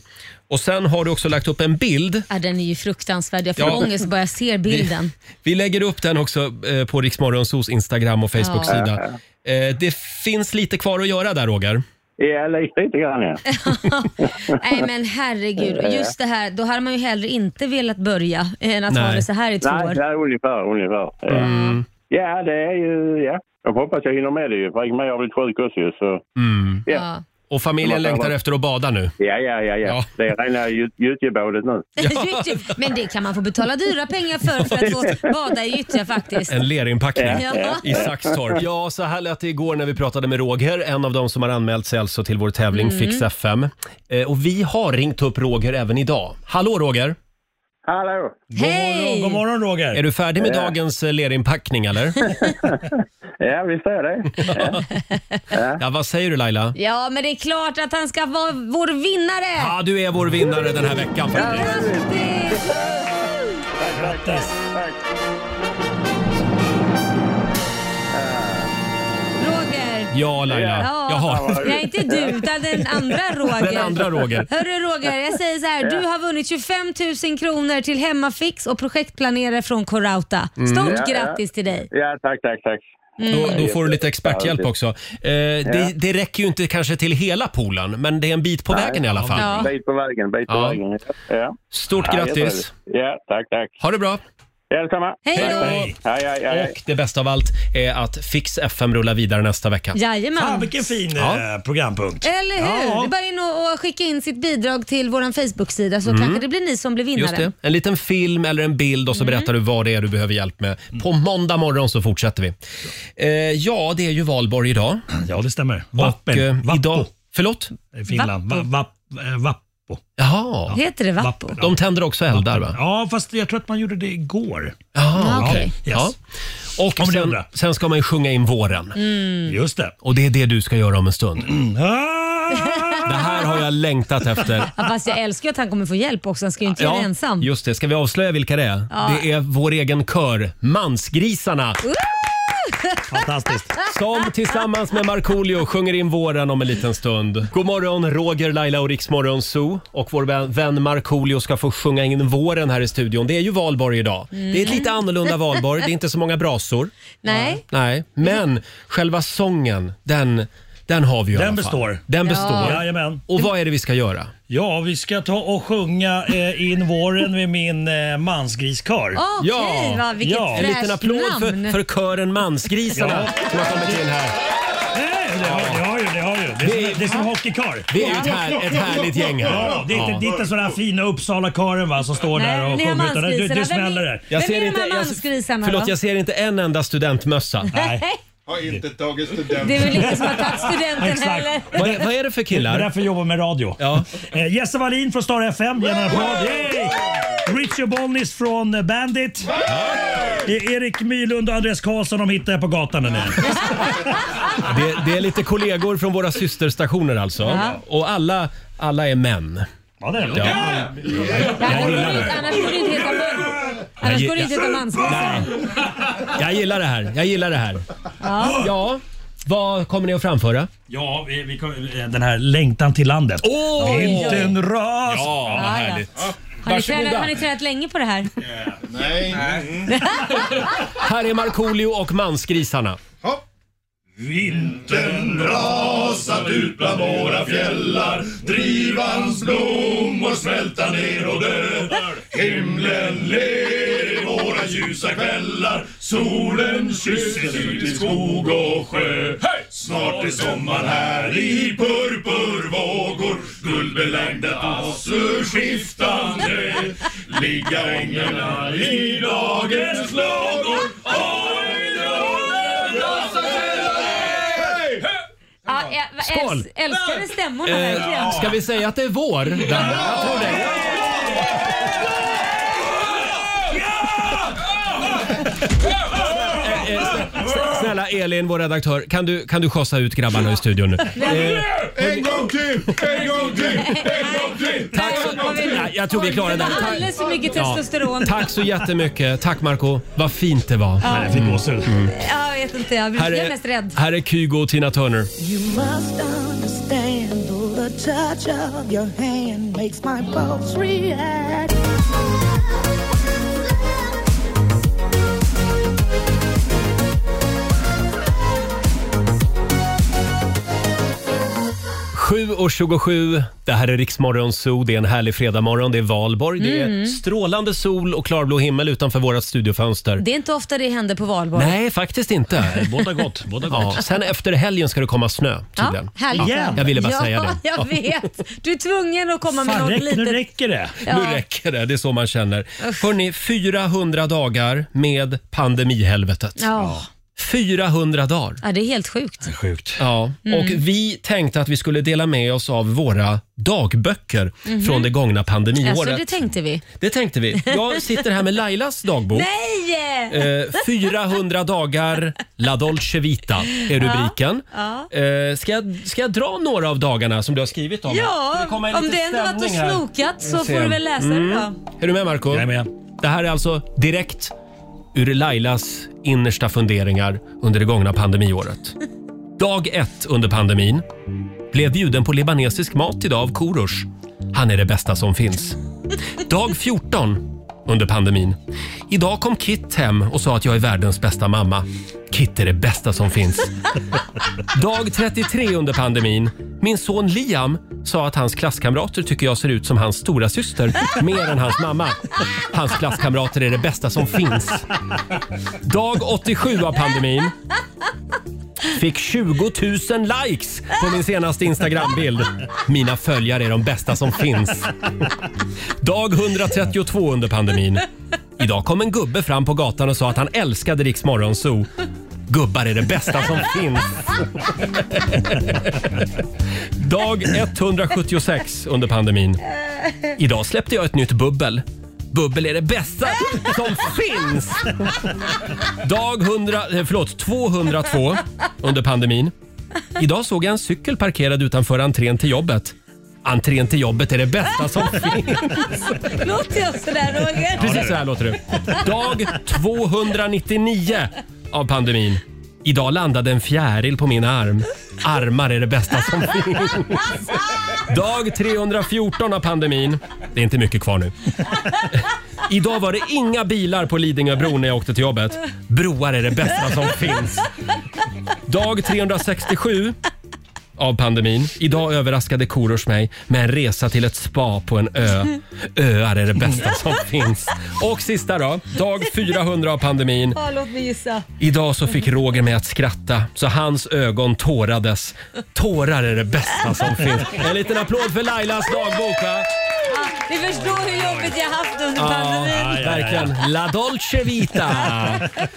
Speaker 1: Och sen har du också lagt upp en bild.
Speaker 2: Ja, den är ju fruktansvärd. Jag får
Speaker 1: Ja.
Speaker 2: ångest bara jag ser bilden.
Speaker 1: Vi lägger upp den också eh, på Riksmorgonsos Instagram och Facebook-sida. Eh, det finns lite kvar att göra där, Roger.
Speaker 5: Ja, lite, lite grann ja.
Speaker 2: Nej men herregud. Och Just det här, då hade man ju hellre inte velat börja än att
Speaker 1: Nej.
Speaker 2: ha det så här i två
Speaker 5: Nej, det
Speaker 2: år.
Speaker 5: är ungefär, ungefär. Ja. ja, det är ju... Ja. Jag hoppas jag hinner med det ju. Fredrik Meijer har blivit sjuk också ju, så...
Speaker 1: Mm.
Speaker 5: Ja.
Speaker 2: Ja.
Speaker 1: Och familjen
Speaker 5: Det var-
Speaker 1: längtar efter att bada nu.
Speaker 5: Ja, ja, ja, ja.
Speaker 1: Ja.
Speaker 5: Det är rena gyt- gyttjebådet nu.
Speaker 2: typ- men det kan man få betala dyra pengar för, för att få bada i gyttja faktiskt.
Speaker 1: En lerinpackning.
Speaker 2: Ja.
Speaker 1: I Saxtorp. Ja, så här lät det igår när vi pratade med Roger, en av dem som har anmält sig alltså till vår tävling
Speaker 2: Mm.
Speaker 1: Fix FM. Eh, och vi har ringt upp Roger även idag. Hallå Roger!
Speaker 5: Hallå!
Speaker 8: God,
Speaker 2: Hej!
Speaker 8: morgon, god morgon Roger.
Speaker 1: Är du färdig med dagens eh, lerinpackning eller?
Speaker 5: Ja, visst är det. Ja.
Speaker 1: Ja, vad säger du Laila?
Speaker 2: Ja, men det är klart att han ska vara vår vinnare!
Speaker 1: Ja, du är vår vinnare den här veckan faktiskt.
Speaker 2: Grattis!
Speaker 8: Grattis!
Speaker 5: Tack.
Speaker 2: Roger.
Speaker 1: Ja, Laila.
Speaker 2: Ja.
Speaker 1: Jaha.
Speaker 2: Nej, inte du, utan den andra Roger.
Speaker 1: Den andra Roger.
Speaker 2: Hörru Roger, jag säger så här. Du har vunnit 25 000 kronor till Hemmafix och projektplanerare från Corauta.
Speaker 1: Mm.
Speaker 2: Stort
Speaker 5: Ja, ja.
Speaker 2: grattis till dig.
Speaker 5: Ja, tack, tack, tack.
Speaker 1: Då, då får du lite experthjälp
Speaker 5: Ja, det-
Speaker 1: också. Eh, det, det räcker ju inte kanske till hela poolen, men det är en bit på vägen i alla fall.
Speaker 2: Ja.
Speaker 5: Bit på vägen, bit på
Speaker 1: Ja.
Speaker 5: vägen. Ja.
Speaker 1: Stort
Speaker 5: Ja,
Speaker 1: grattis!
Speaker 5: jätteroligt. Ja, tack, tack.
Speaker 1: Ha det bra!
Speaker 5: Ja, detsamma.
Speaker 2: Hej då.
Speaker 5: Hej, hej, hej. hej.
Speaker 1: Och det bästa av allt är att Fix FM rullar vidare nästa vecka.
Speaker 2: Jajamän.
Speaker 8: Fan vilken fin
Speaker 1: Mm. Ja.
Speaker 8: eh, programpunkt.
Speaker 2: Eller hur?
Speaker 8: Ja.
Speaker 2: Det är bara in och, och skicka in sitt bidrag till vår Facebook-sida så kanske det blir ni som blir
Speaker 1: Mm. Just
Speaker 2: vinnare.
Speaker 1: det. En liten film eller en bild och så berättar du vad det är du behöver hjälp med. På måndag morgon så fortsätter vi. Eh, ja, det är ju valborg idag.
Speaker 8: Ja det stämmer. Vappen.
Speaker 1: Och, eh,
Speaker 8: Vappo.
Speaker 1: idag... Förlåt?
Speaker 8: I Finland. Va,
Speaker 2: Vappo.
Speaker 8: va, eh, vappo.
Speaker 1: Jaha.
Speaker 2: Heter det Vappo?
Speaker 8: Vappen, ja.
Speaker 1: De tänder också eldar va?
Speaker 8: Ja fast jag tror att man gjorde det igår.
Speaker 1: Jaha,
Speaker 2: Ja,
Speaker 1: okej.
Speaker 2: okej.
Speaker 1: Ja.
Speaker 8: Yes.
Speaker 1: Och
Speaker 8: Om det
Speaker 1: sen,
Speaker 8: undrar.
Speaker 1: sen ska man ju sjunga in våren.
Speaker 2: Mm.
Speaker 8: Just det.
Speaker 1: Och det är det du ska göra om en stund.
Speaker 8: Ah!
Speaker 1: Det här har jag längtat efter.
Speaker 2: Ja, fast jag älskar ju att han kommer få hjälp också. Han ska ju inte göra det ensam.
Speaker 1: just det. Ska vi avslöja vilka det är? Det är vår egen kör, Mansgrisarna,
Speaker 8: Fantastiskt.
Speaker 1: som tillsammans med Markoolio sjunger in våren om en liten stund. God morgon, Roger, Laila och Riksmorgon Zoo. Och vår vän- vän Markoolio ska få sjunga in våren här i studion. Det är ju valborg idag. Det är ett
Speaker 2: Mm.
Speaker 1: lite annorlunda valborg. Det är inte så många brasor.
Speaker 2: Nej.
Speaker 1: Nej, men själva sången, den, den har vi ju i
Speaker 8: Den
Speaker 1: alla fall.
Speaker 8: består.
Speaker 1: Den består.
Speaker 8: Jajamän.
Speaker 1: Och vad är det vi ska göra?
Speaker 8: Ja, vi ska ta och sjunga eh, in våren med min eh, mansgriskör.
Speaker 2: Okej,
Speaker 1: Ja.
Speaker 2: va, vilket
Speaker 8: Ja.
Speaker 1: En
Speaker 2: fräscht
Speaker 1: liten applåd
Speaker 2: namn.
Speaker 1: för, för kören Mansgrisarna
Speaker 8: Ja.
Speaker 1: som har kommit in här.
Speaker 8: Nej, Eh, det har det har ju, det har ju.
Speaker 1: Det
Speaker 8: Det är, det
Speaker 1: är-
Speaker 8: är, det är som hockeykör.
Speaker 1: Vi är ju ett, här, ett härligt gäng här.
Speaker 8: Ja, det är inte, det är inte sådana fina Uppsalakören va, som står
Speaker 2: Nej,
Speaker 8: där och
Speaker 2: ni har
Speaker 8: sjunger. Utan det,
Speaker 2: mansgrisarna.
Speaker 8: det
Speaker 2: Vem är-
Speaker 8: smäller där.
Speaker 2: Vem är de här mansgrisarna
Speaker 1: jag, förlåt,
Speaker 2: då?
Speaker 1: jag ser inte en enda studentmössa.
Speaker 8: Nej.
Speaker 9: Har inte tagit
Speaker 2: Det är
Speaker 9: studenten.
Speaker 2: väl ingen som har tagit studenten
Speaker 8: Exakt.
Speaker 2: heller.
Speaker 1: Vad är, vad är det för
Speaker 8: Det är
Speaker 1: killar?
Speaker 8: därför jag jobbar med radio.
Speaker 1: Ja.
Speaker 8: Eh, Jesse Wallin från Star FM, ge en applåd. Yay! Richie Bonnis från eh, Bandit. Det är Erik Mylund och Andreas Karlsson de hittar jag på gatan där nere.
Speaker 1: Det, det är lite kollegor från våra systerstationer alltså. Och alla, alla är män.
Speaker 8: Ja, det är det.
Speaker 2: Annars går
Speaker 1: gillar
Speaker 2: det inte-
Speaker 1: det.
Speaker 2: annars går det inte heta man. Annars
Speaker 1: gi-
Speaker 2: går det inte heta mansgrisarna.
Speaker 1: Jag gillar det här. Jag gillar det här. Ja. Vad kommer ni att framföra?
Speaker 8: Ja, vi, vi, kom- eh, den här längtan till landet.
Speaker 1: Åh!
Speaker 8: Inte en ras.
Speaker 1: vad
Speaker 2: ja. Har ni, tränat, har ni tränat länge på det här?
Speaker 9: Nej.
Speaker 1: Här är Markoolio och Mansgrisarna. Eh,
Speaker 9: Vintern rasat ut bland våra fjällar Drivans blommor smälta ner och dö Himlen ler i våra ljusa kvällar Solen kysser ut i skog och sjö Snart är sommar här i purpurvågor Guldbelagda asur skiftande Ligga änglarna i dagens lågor Oj, drottning, rasar fjällar ner.
Speaker 2: Ja, jag
Speaker 1: Skål!
Speaker 2: Skål! Älskade stämmorna verkligen.
Speaker 1: Eh, Ska vi säga att det är vår? Där. Jag tror det. Eh, eh, sn- Snälla Elin, vår redaktör, kan du, kan du skjutsa ut grabbarna i studion nu? Eh,
Speaker 9: En gång till! En gång till! En gång till!
Speaker 1: tack så, Nej, jag tror vi är klara där.
Speaker 2: Det var
Speaker 1: Tack,
Speaker 2: alldeles för mycket testosteron.
Speaker 1: tack så jättemycket. Tack Marco Vad fint det var.
Speaker 8: Nej, jag fick gåshud.
Speaker 1: Mm.
Speaker 2: Ja, jag vet inte, jag blir
Speaker 1: Här
Speaker 2: jag är
Speaker 1: är,
Speaker 2: mest rädd.
Speaker 1: här är Kygo och Tina Turner.
Speaker 4: You must understand the touch of your hand makes my pulse react.
Speaker 1: Sju och 27, det här är Riksmorgon Zoo. Det är en härlig fredagmorgon. Det är valborg. Det
Speaker 2: Mm.
Speaker 1: är strålande sol och klarblå himmel utanför vårt studiofönster.
Speaker 2: Det är inte ofta det händer på valborg.
Speaker 1: Nej, faktiskt inte.
Speaker 8: Båda gott. Båda gott.
Speaker 1: Ja, sen efter helgen ska det komma snö tydligen.
Speaker 2: Ja, härligt.
Speaker 8: Igen.
Speaker 1: Jag ville bara
Speaker 2: ja,
Speaker 1: säga det.
Speaker 2: jag vet. Du är tvungen att komma med
Speaker 8: Fan,
Speaker 2: något
Speaker 8: räck, nu
Speaker 2: litet.
Speaker 8: räcker det.
Speaker 2: Ja.
Speaker 1: Nu räcker det, det är så man känner. Hörni, 400 dagar med pandemihelvetet.
Speaker 2: Ja.
Speaker 1: 400 dagar.
Speaker 2: ja, det är helt sjukt.
Speaker 8: Sjukt.
Speaker 1: Ja, och vi tänkte att vi skulle dela med oss av våra dagböcker från det gångna pandemiåret.
Speaker 2: Mhm. Alltså, det tänkte vi.
Speaker 1: Det tänkte vi. Jag sitter här med Lailas dagbok.
Speaker 2: Nej!
Speaker 1: Eh, 400 dagar La Dolce Vita är rubriken. Eh, ska, jag, ska jag dra några av dagarna som du har skrivit om?
Speaker 2: Ja,
Speaker 1: Ska komma en
Speaker 2: om
Speaker 1: liten
Speaker 2: det ändå varit och
Speaker 1: stämning här?
Speaker 2: snokat så
Speaker 1: se. Mm.
Speaker 2: får du väl läsa det då.
Speaker 1: Är du med Marco?
Speaker 8: Jag är med.
Speaker 1: Det här är alltså direkt ur Lailas innersta funderingar under det gångna pandemiåret. Dag ett under pandemin. Blev bjuden på libanesisk mat idag av Korosh. Han är det bästa som finns. Dag 14 under pandemin. Idag kom Kit hem och sa att jag är världens bästa mamma. Kit är det bästa som finns. Dag 33 under pandemin. Min son Liam sa att hans klasskamrater tycker jag ser ut som hans stora syster mer än hans mamma. Hans klasskamrater är det bästa som finns. Dag 87 av pandemin. Fick 20 000 likes på min senaste Instagram-bild. Mina följare är de bästa som finns. Dag 132 under pandemin. Idag kom en gubbe fram på gatan och sa att han älskade Riks Morgonzoo. Gubbar är det bästa som finns. Dag 176 under pandemin. Idag släppte jag ett nytt bubbel. Bubbel är det bästa som finns! Dag 100, eh, förlåt, 202 under pandemin. Idag såg jag en cykel parkerad utanför entrén till jobbet. Entrén till jobbet är det bästa som finns.
Speaker 2: Låter jag sådär Roger?
Speaker 1: Precis så här låter det. Dag 299 av pandemin. Idag landade en fjäril på min arm. Armar är det bästa som finns. Dag 314 av pandemin. Det är inte mycket kvar nu. Idag var det inga bilar på Lidingöbron när jag åkte till jobbet. Broar är det bästa som finns. Dag 367 av pandemin.
Speaker 2: Mm.
Speaker 1: Idag överraskade Korosh mig med en resa till ett spa på en ö. Öar är det bästa som
Speaker 2: Mm.
Speaker 1: finns. Och sista då, dag 400 av pandemin.
Speaker 2: Ja, låt mig gissa.
Speaker 1: Idag så fick Roger mig att skratta så hans ögon tårades. Tårar är det bästa som finns. En liten applåd för Lailas dagbok va?
Speaker 2: Ja, ni förstår hur jobbigt jag haft under pandemin.
Speaker 1: verkligen. La Dolce Vita.
Speaker 2: Ja,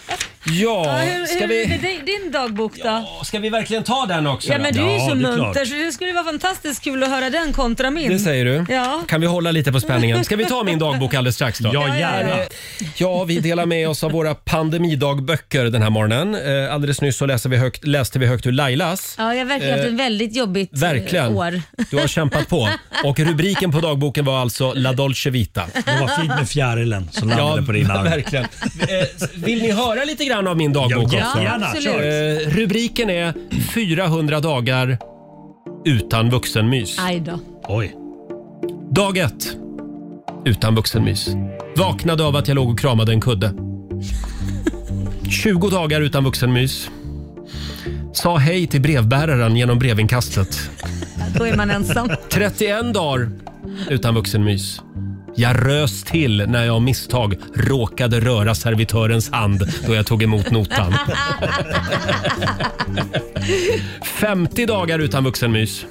Speaker 1: Ja,
Speaker 2: hur,
Speaker 1: ska
Speaker 2: hur är
Speaker 1: vi,
Speaker 2: det din dagbok då? Ja,
Speaker 1: ska vi verkligen ta den också? då?
Speaker 2: men du är ju
Speaker 1: Ja,
Speaker 2: så
Speaker 1: det är klart.
Speaker 2: munter så det skulle vara fantastiskt kul att höra den kontra min.
Speaker 1: Det säger du.
Speaker 2: Mm. Ja.
Speaker 1: Kan vi hålla lite på spänningen? Ska vi ta min dagbok alldeles strax då?
Speaker 2: Ja, gärna.
Speaker 1: Ja, vi delar med oss av våra pandemidagböcker den här morgonen. Eh, Alldeles nyss så läste vi högt, läste vi högt ur Lailas.
Speaker 2: Ja, jag har verkligen haft
Speaker 1: Eh,
Speaker 2: ett väldigt jobbigt eh,
Speaker 1: Verkligen.
Speaker 2: år.
Speaker 1: Du har kämpat på. Och rubriken på dagboken var alltså La Dolce Vita.
Speaker 10: Det var fint med fjärilen som landade på din arm.
Speaker 1: verkligen. Eh, Vill ni höra lite grann av min dagbok
Speaker 10: Ja,
Speaker 1: också?
Speaker 10: gärna.
Speaker 2: absolut.
Speaker 10: Kör.
Speaker 1: Eh, Rubriken är 400 dagar utan vuxenmys.
Speaker 2: Aj då.
Speaker 10: Oj.
Speaker 1: Dag ett. Utan vuxenmys. Vaknade av att jag låg och kramade en kudde. 20 dagar utan vuxenmys. Sa hej till brevbäraren genom brevinkastet.
Speaker 2: Då är man ensam.
Speaker 1: 31 dagar utan vuxenmys. Jag rös till när jag av misstag råkade röra servitörens hand då jag tog emot notan. 50 dagar utan vuxenmys.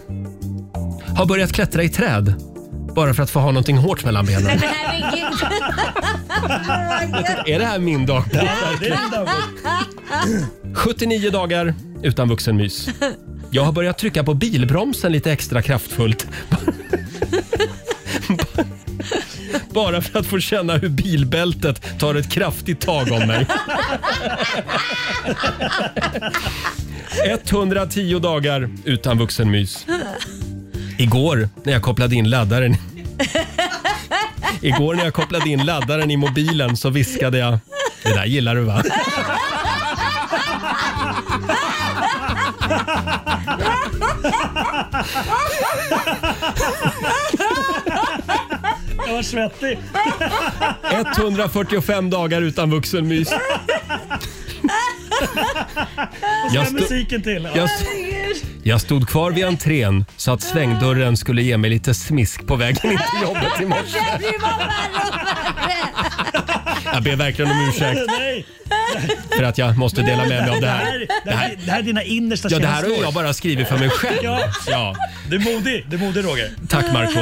Speaker 1: Har börjat klättra i träd bara för att få ha någonting hårt mellan benen.
Speaker 2: Herregud. Roger.
Speaker 1: Är det här min dag?
Speaker 10: Det är din dagbok.
Speaker 1: 79 dagar utan vuxenmys. Jag har börjat trycka på bilbromsen lite extra kraftfullt. Bara för att få känna hur bilbältet tar ett kraftigt tag om mig. 110 dagar utan vuxenmys. Igår när jag kopplade in laddaren Igår när jag kopplade in laddaren i mobilen så viskade jag Det där gillar du va?
Speaker 10: Jag var svettig.
Speaker 1: 145 dagar utan vuxenmys. Jag,
Speaker 10: Med
Speaker 1: sto-
Speaker 10: musiken till. Ja.
Speaker 1: jag, s- jag stod kvar vid entrén så att svängdörren skulle ge mig lite smisk på vägen in till jobbet i morse.
Speaker 2: Det blir bara värre och värre.
Speaker 1: Jag ber verkligen om ursäkt
Speaker 10: Nej,
Speaker 1: för att jag måste dela med mig av det
Speaker 10: det
Speaker 1: här.
Speaker 10: här, det, här, det här är dina innersta
Speaker 1: Ja, det här har
Speaker 10: känslor.
Speaker 1: ju jag bara skrivit för mig själv.
Speaker 10: Ja.
Speaker 1: Ja,
Speaker 10: Du är modig. Du är modig Roger.
Speaker 1: tack Marco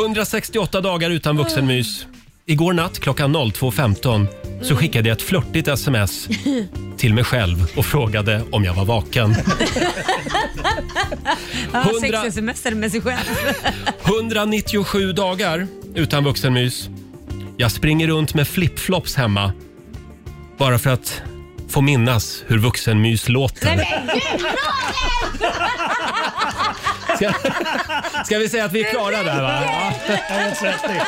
Speaker 1: 168 dagar utan vuxenmys. Igår natt klockan 02.15 så skickade jag ett flörtigt sms till mig själv och frågade om jag var vaken.
Speaker 2: Ja,
Speaker 1: Hundra-
Speaker 2: sex sms med sig själv.
Speaker 1: 197 dagar utan vuxenmys. Jag springer runt med flipflops hemma. Bara för att få minnas hur vuxenmys låter. Ska, ska vi säga att vi är klara där va? Ja.
Speaker 10: Jag är svettig.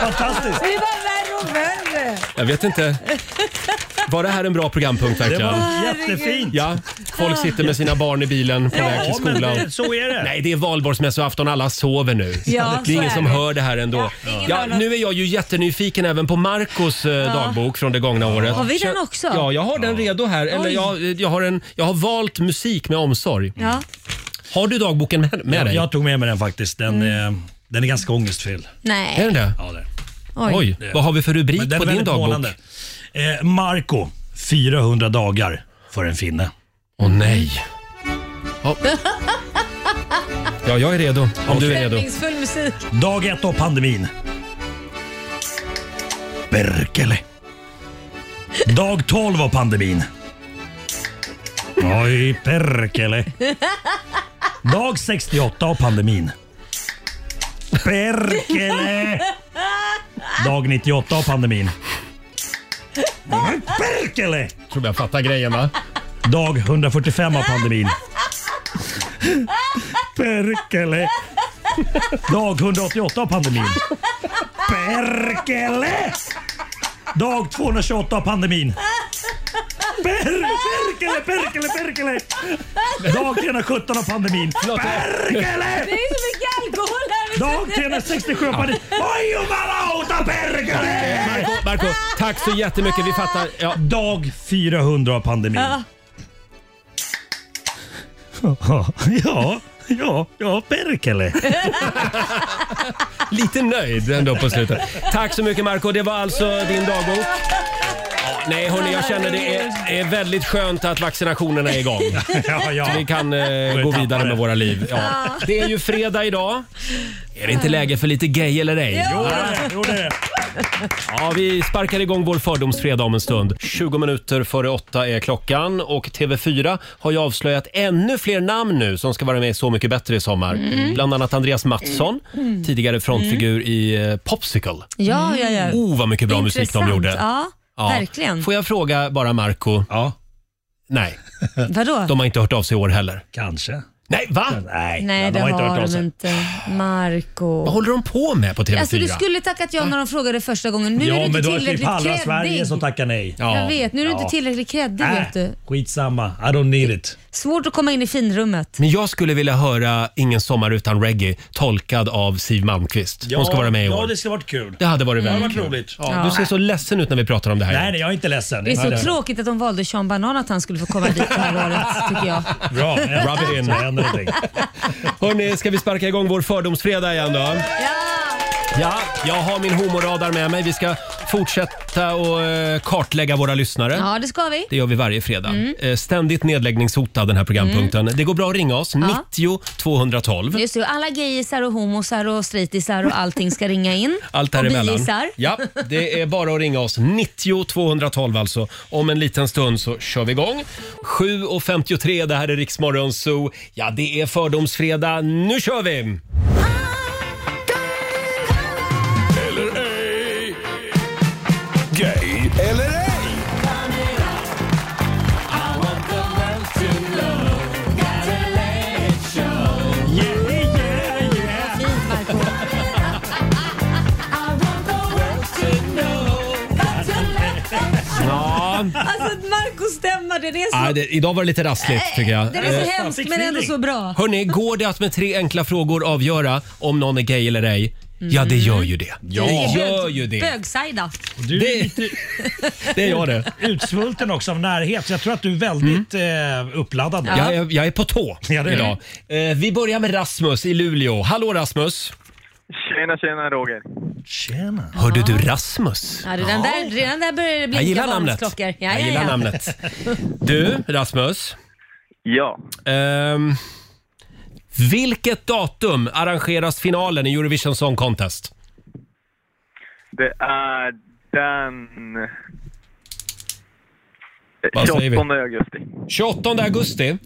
Speaker 10: Fantastiskt.
Speaker 2: Det blir bara värre november.
Speaker 1: Jag vet inte. Var det här en bra programpunkt verkligen?
Speaker 8: Det var jättefint.
Speaker 1: Ja, folk sitter med sina barn i bilen på
Speaker 8: Ja,
Speaker 1: väg till
Speaker 8: men
Speaker 1: skolan.
Speaker 8: det- så är det.
Speaker 1: Nej, det är valborgsmässoafton. Alla sover nu.
Speaker 8: Ja,
Speaker 1: det är
Speaker 8: så
Speaker 1: ingen
Speaker 8: är
Speaker 1: som
Speaker 8: det.
Speaker 1: hör det här ändå.
Speaker 2: Ja, ingen
Speaker 1: Ja,
Speaker 2: hör något.
Speaker 1: nu är jag ju jättenyfiken även på Marcos eh,
Speaker 2: Ja.
Speaker 1: dagbok från det gångna året.
Speaker 2: Har vi den också?
Speaker 1: Ja, jag har den redo här. Eller
Speaker 2: Oj.
Speaker 1: jag, jag, har en, jag har valt musik med omsorg.
Speaker 2: Ja.
Speaker 1: Har du dagboken med, med dig?
Speaker 8: Jag tog med mig den faktiskt. Den, eh, den är ganska ångestfylld.
Speaker 2: Nej.
Speaker 1: Är den det?
Speaker 8: Ja, det är den.
Speaker 2: Oj.
Speaker 1: Oj, vad har vi för rubrik
Speaker 8: Men den
Speaker 1: på
Speaker 8: är
Speaker 1: din
Speaker 8: väldigt
Speaker 1: dagbok?
Speaker 8: målande. Eh, Marco, 400 dagar för en finne.
Speaker 1: Åh nej. Ja. ja, jag är redo. Om du är redo.
Speaker 2: Stämningsfull musik.
Speaker 8: Dag ett av pandemin. Berkele. Dag 12 av pandemin. Oj, perkele. Dag 68 av pandemin. Perkele. Dag 98 av pandemin. Oj, Perkele.
Speaker 1: Tror jag fattar grejen va?
Speaker 8: Dag 145 av pandemin. Perkele. Dag 188 av pandemin. Perkele! Dag 228 av pandemin. Per, perkele, perkele, perkele! Dag 317 av pandemin. Perkele!
Speaker 2: Det är så mycket alkohol här.
Speaker 8: Dag 367 av pandemin. Oj, varauta perkele!
Speaker 1: Marco, Marco, tack så jättemycket. Vi fattar. Ja.
Speaker 8: Dag 400 av pandemin.
Speaker 2: Ja.
Speaker 8: Ja, ja, ja, perkele.
Speaker 1: Lite nöjd ändå på slutet. Tack så mycket Marco. Det var alltså din dagbok. Ja, Nej hörni, jag känner det är, är väldigt skönt att vaccinationerna är igång.
Speaker 8: Ja, ja.
Speaker 1: Vi kan eh,
Speaker 8: vi
Speaker 1: gå
Speaker 8: tappa
Speaker 1: vidare
Speaker 8: det.
Speaker 1: med våra liv. Ja. Det är ju fredag idag. Är det inte läge för lite gay eller ej?
Speaker 8: Jo, det är det, jo, det är det.
Speaker 1: Ja, vi sparkar igång vår fördomsfredag om en stund. 20 minuter före åtta är klockan och TV4 har ju avslöjat ännu fler namn nu som ska vara med i Så mycket bättre i sommar.
Speaker 2: Mm.
Speaker 1: Bland annat Andreas Mattsson, tidigare frontfigur i eh, Popsicle.
Speaker 2: Ja, ja, ja.
Speaker 1: Oh, vad mycket bra musik de
Speaker 2: Intressant.
Speaker 1: gjorde.
Speaker 2: Ja,
Speaker 1: Ja.
Speaker 2: verkligen.
Speaker 1: Får jag fråga bara Marco?
Speaker 8: Ja,
Speaker 1: Nej,
Speaker 2: Vadå?
Speaker 1: de har inte hört av sig i år heller.
Speaker 8: kanske.
Speaker 1: Nej, va?
Speaker 8: Nej,
Speaker 2: Nej, det
Speaker 8: har
Speaker 2: har,
Speaker 8: inte hört av
Speaker 2: de
Speaker 8: sig.
Speaker 2: inte. Marco
Speaker 1: Vad håller de på med på TV4?
Speaker 2: Alltså, du skulle tackat ja när de frågade första gången. Nu är du inte
Speaker 8: men då är det
Speaker 2: tillräckligt
Speaker 8: typ halva Sverige
Speaker 2: kreddig.
Speaker 8: som tackar nej.
Speaker 1: Ja.
Speaker 2: Jag vet, nu är du
Speaker 8: Ja.
Speaker 2: inte tillräckligt kreddig
Speaker 8: Äh,
Speaker 2: vet du.
Speaker 8: skitsamma, I don't need it.
Speaker 2: Svårt att komma in i finrummet.
Speaker 1: Men jag skulle vilja höra Ingen sommar utan reggae tolkad av Siv Malmkvist. Hon ska vara med i år.
Speaker 8: Ja, det skulle varit kul.
Speaker 1: Det hade varit väldigt
Speaker 8: varit
Speaker 1: kul.
Speaker 8: roligt.
Speaker 1: Ja. Du ser så ledsen ut när vi pratar om det här.
Speaker 8: Nej, nej, jag är inte ledsen.
Speaker 2: Det är så
Speaker 8: Nej,
Speaker 2: tråkigt att de valde Sean Banan att han skulle få komma dit det här året tycker jag.
Speaker 8: Bra, rub it in. Det händer någonting.
Speaker 1: Hörni, ska vi sparka igång vår fördomsfredag igen då? Ja, jag har min homoradar med mig. Vi ska fortsätta och eh, kartlägga våra lyssnare.
Speaker 2: Ja, det ska vi.
Speaker 1: Det gör vi varje fredag. Eh, Ständigt nedläggningshotad den här programpunkten. Det går bra att ringa oss, 90 212.
Speaker 2: Just det, och alla gayisar och homosar och straightisar och allting ska ringa in.
Speaker 1: Allt
Speaker 2: Och
Speaker 1: däremellan.
Speaker 2: biisar.
Speaker 1: Ja, det är bara att ringa oss. 90 212 alltså. Om en liten stund så kör vi igång. 7.53, det här är Riksmorgon Zoo. Ja, det är fördomsfredag. Nu kör vi!
Speaker 9: Eller ej. Gay eller ej.
Speaker 2: Fint, Marco.
Speaker 1: Ja,
Speaker 2: Alltså Marcos stämma, den är så...
Speaker 11: Ah.
Speaker 1: nej, det, idag var det lite rassligt tycker jag.
Speaker 2: Den är
Speaker 1: Eh,
Speaker 2: så hemsk men ändå så bra.
Speaker 1: Hörni, går det att med tre enkla frågor avgöra om någon är gay eller ej? Ja, det gör ju det.
Speaker 8: Mm.
Speaker 2: Det är
Speaker 1: Det
Speaker 2: bög-
Speaker 1: gör ju det.
Speaker 2: Bögsajda.
Speaker 8: Du är
Speaker 1: Det-
Speaker 8: lite
Speaker 1: Det gör det.
Speaker 8: utsvulten också av närhet, så jag tror att du är väldigt
Speaker 1: Mm.
Speaker 8: eh, uppladdad. nu.
Speaker 1: Jag, är- jag är på tå
Speaker 8: Ja, det är
Speaker 1: idag. Eh, vi börjar med Rasmus i Luleå. Hallå Rasmus!
Speaker 5: Tjena, tjena Roger.
Speaker 8: Tjena.
Speaker 1: Hörde du Rasmus?
Speaker 2: Ja, redan, där, redan där börjar det
Speaker 1: Jag
Speaker 2: blinka
Speaker 1: gillar namnet.
Speaker 2: varningsklockor. Ja, ja,
Speaker 1: Jag gillar
Speaker 2: ja.
Speaker 1: namnet. Du, Rasmus.
Speaker 5: Ja,
Speaker 1: Ehm, vilket datum arrangeras finalen i Eurovision Song Contest?
Speaker 5: det är den...
Speaker 1: Vad säger vi?
Speaker 5: 28 augusti.
Speaker 1: 28 augusti?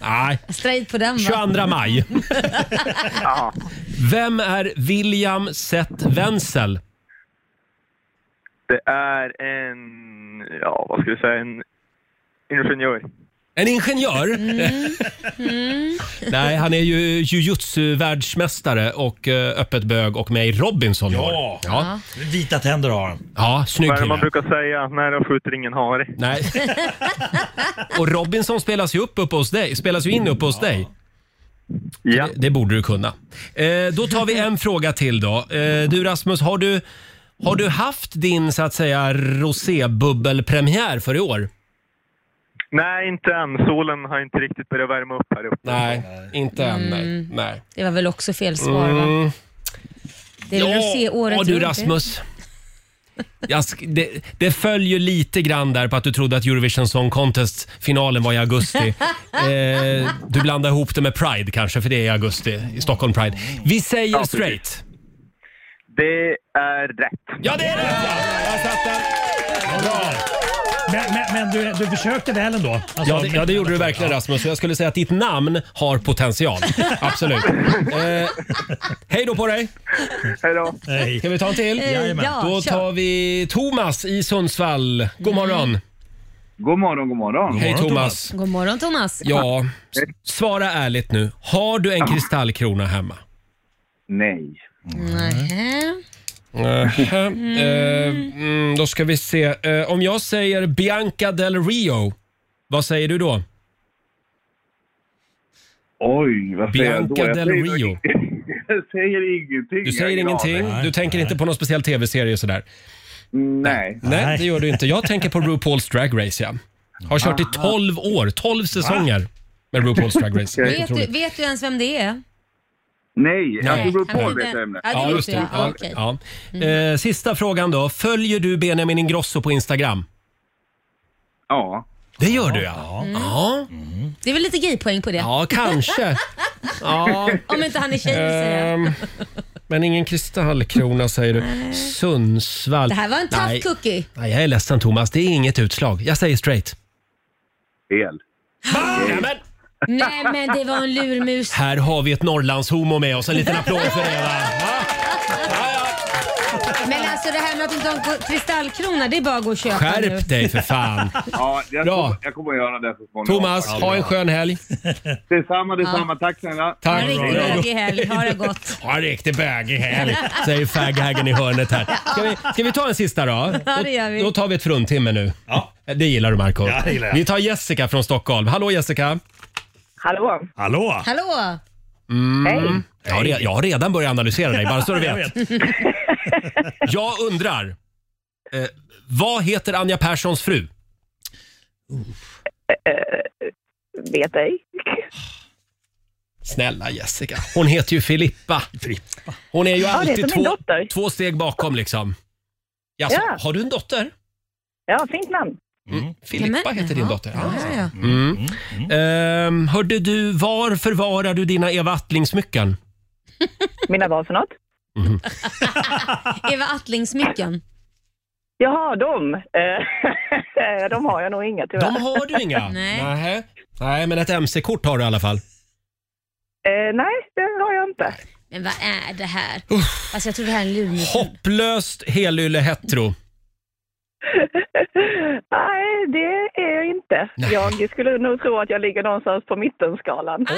Speaker 1: Nej,
Speaker 2: Straight på den va?
Speaker 1: 22 maj.
Speaker 5: Ja,
Speaker 1: Vem är William Seth Wenzel?
Speaker 5: det är en... Ja, vad ska vi säga? En ingenjör.
Speaker 1: En ingenjör?
Speaker 2: Mm.
Speaker 1: Nej, han är ju jujutsu-världsmästare och eh, öppet bög och med i Robinson i år.
Speaker 10: Ja.
Speaker 1: ja.
Speaker 10: Vita tänder har han.
Speaker 1: Ja, snygg
Speaker 12: Vad är det man
Speaker 1: kille.
Speaker 12: brukar säga? När de skjuter ingen hare.
Speaker 1: Nej. Och Robinson spelas ju upp uppe hos dig. Spelas ju in uppe hos dig.
Speaker 12: Ja.
Speaker 1: Det, det borde du kunna. Eh, då tar vi en fråga till då. Eh, du Rasmus, har du, har du haft din så att säga rosébubbelpremiär för i år?
Speaker 12: Nej, inte än. Solen har inte riktigt börjat värma upp här uppe.
Speaker 1: Nej, inte än. Nej. nej.
Speaker 2: Det var väl också fel svar va?
Speaker 1: Mm.
Speaker 2: Det är väl att se året
Speaker 1: ja, du
Speaker 2: runt, det.
Speaker 1: Rasmus. Jag sk- det, det följer lite grann där på att du trodde att Eurovision Song Contest finalen var i augusti. Eh, du blandar ihop det med Pride kanske, för det är i augusti i Stockholm Pride. Vi säger
Speaker 12: Ja, precis.
Speaker 1: straight.
Speaker 12: Det är rätt.
Speaker 1: Ja, det är rätt!
Speaker 10: Men, men, men du, du försökte väl ändå? Alltså,
Speaker 1: Ja det, ja, det gjorde du verkligen Rasmus. Jag skulle säga att ditt namn har potential. Absolut. Eh, hej då på dig!
Speaker 12: Hej då!
Speaker 10: Hej.
Speaker 1: Ska vi ta en till?
Speaker 2: Eh, Jajamän. ja,
Speaker 1: då
Speaker 2: kör.
Speaker 1: tar vi Thomas i Sundsvall. Mm. God morgon!
Speaker 13: God morgon, god morgon.
Speaker 1: Hej Thomas!
Speaker 2: God morgon Thomas.
Speaker 1: Ja, s- svara ärligt nu. Har du en kristallkrona hemma?
Speaker 13: Nej.
Speaker 1: Mm.
Speaker 2: Nähä.
Speaker 1: Nähä. Eh, mm, då ska vi se. Eh, om jag säger Bianca del Rio, vad säger du då?
Speaker 13: Oj, vad säger jag då?
Speaker 1: Bianca
Speaker 13: Jag
Speaker 1: del
Speaker 13: säger-
Speaker 1: Rio.
Speaker 13: Jag säger ingenting.
Speaker 1: Du
Speaker 13: Jag
Speaker 1: säger
Speaker 13: är glad.
Speaker 1: ingenting. Du tänker inte på någon speciell tv-serie sådär?
Speaker 13: Nej.
Speaker 1: Nej, det gör du inte. Jag tänker på RuPaul's Drag Race, ja. Har kört i 12 år, 12 säsonger med RuPaul's Drag Race. Det är
Speaker 2: Vet,
Speaker 1: otroligt.
Speaker 2: du, vet du ens vem det är?
Speaker 13: Nej,
Speaker 2: Nej,
Speaker 13: alltså
Speaker 2: han
Speaker 13: RuPaul
Speaker 2: hade-
Speaker 13: vet jag ämnet.
Speaker 2: Ja, det
Speaker 1: Ja,
Speaker 2: vet
Speaker 1: just
Speaker 2: jag.
Speaker 1: det. Ja,
Speaker 2: Okej. Mm.
Speaker 1: ja. Eh, sista frågan då. Följer du Benjamin Ingrosso på Instagram?
Speaker 13: Ja.
Speaker 1: Det gör du ja. Ja,
Speaker 2: Det är väl lite gaypoäng på det?
Speaker 1: ja kanske. Ja.
Speaker 2: Om inte han är tjej säger jag.
Speaker 1: Ehm, men ingen kristallkrona säger du. Sundsvall.
Speaker 2: Det här var en tough
Speaker 1: Nej.
Speaker 2: cookie.
Speaker 1: Nej, jag är ledsen Thomas. Det är inget utslag. Jag säger straight.
Speaker 13: Fel.
Speaker 2: Nej men det var en lurmus.
Speaker 1: Här har vi ett Norrlandshomo med oss. En liten applåd för det. va?
Speaker 2: Men alltså det här med att inte ha en kristallkrona, det är bara att gå och köpa nu.
Speaker 1: Skärp dig för fan.
Speaker 13: Ja, jag,
Speaker 1: Bra.
Speaker 13: kommer, jag kommer att göra det så småningom.
Speaker 1: Thomas,
Speaker 13: faktiskt.
Speaker 1: ha en skön helg.
Speaker 13: Detsamma, detsamma. Tack snälla.
Speaker 1: Tack.
Speaker 2: En riktig bögig helg. Ha det gott.
Speaker 1: Ja, en riktig bögig helg, säger faghaggen i hörnet här. Ska vi, ska vi ta en sista då?
Speaker 2: Ja, det gör vi.
Speaker 1: Då tar vi ett fruntimmer nu. Ja. Det gillar du Marco.
Speaker 10: Ja, det gillar jag.
Speaker 1: Vi tar Jessica från Stockholm. Hallå Jessica!
Speaker 14: Hallå!
Speaker 10: Hallå!
Speaker 14: Hallå!
Speaker 1: Mm.
Speaker 14: Hej.
Speaker 1: Jag, har re- jag har redan börjat analysera dig, bara så du vet. Jag undrar, eh, vad heter Anja Perssons fru?
Speaker 14: Eh, Vet ej.
Speaker 1: Snälla Jessica, hon heter ju Filippa. Hon är ju
Speaker 14: Ja, det är
Speaker 1: alltid
Speaker 14: som min
Speaker 1: två, två steg bakom liksom. Jaså,
Speaker 14: Ja.
Speaker 1: har du en dotter?
Speaker 14: Ja, fint namn.
Speaker 1: Mm. Filippa
Speaker 14: Jamen,
Speaker 1: heter din
Speaker 14: jaha.
Speaker 1: dotter.
Speaker 14: Ja, ja, ja.
Speaker 1: Mm. Ehm, hörde du, var förvarar du dina Eva Attling-smycken?
Speaker 14: Mina vad för något?
Speaker 2: Eva Attling-smycken.
Speaker 14: Jaha, de. Eh, de har jag nog inga tyvärr.
Speaker 1: De har du inga? Nähä. Nej, men ett MC-kort har du i alla fall.
Speaker 14: Eh, nej, det har jag inte.
Speaker 2: Men vad är det här? Alltså jag tror det här är en lurmus.
Speaker 1: Hopplöst helylle hetero.
Speaker 14: nej, det är jag inte. Jag skulle nog tro att jag ligger någonstans på mittenskalan.
Speaker 2: Alltså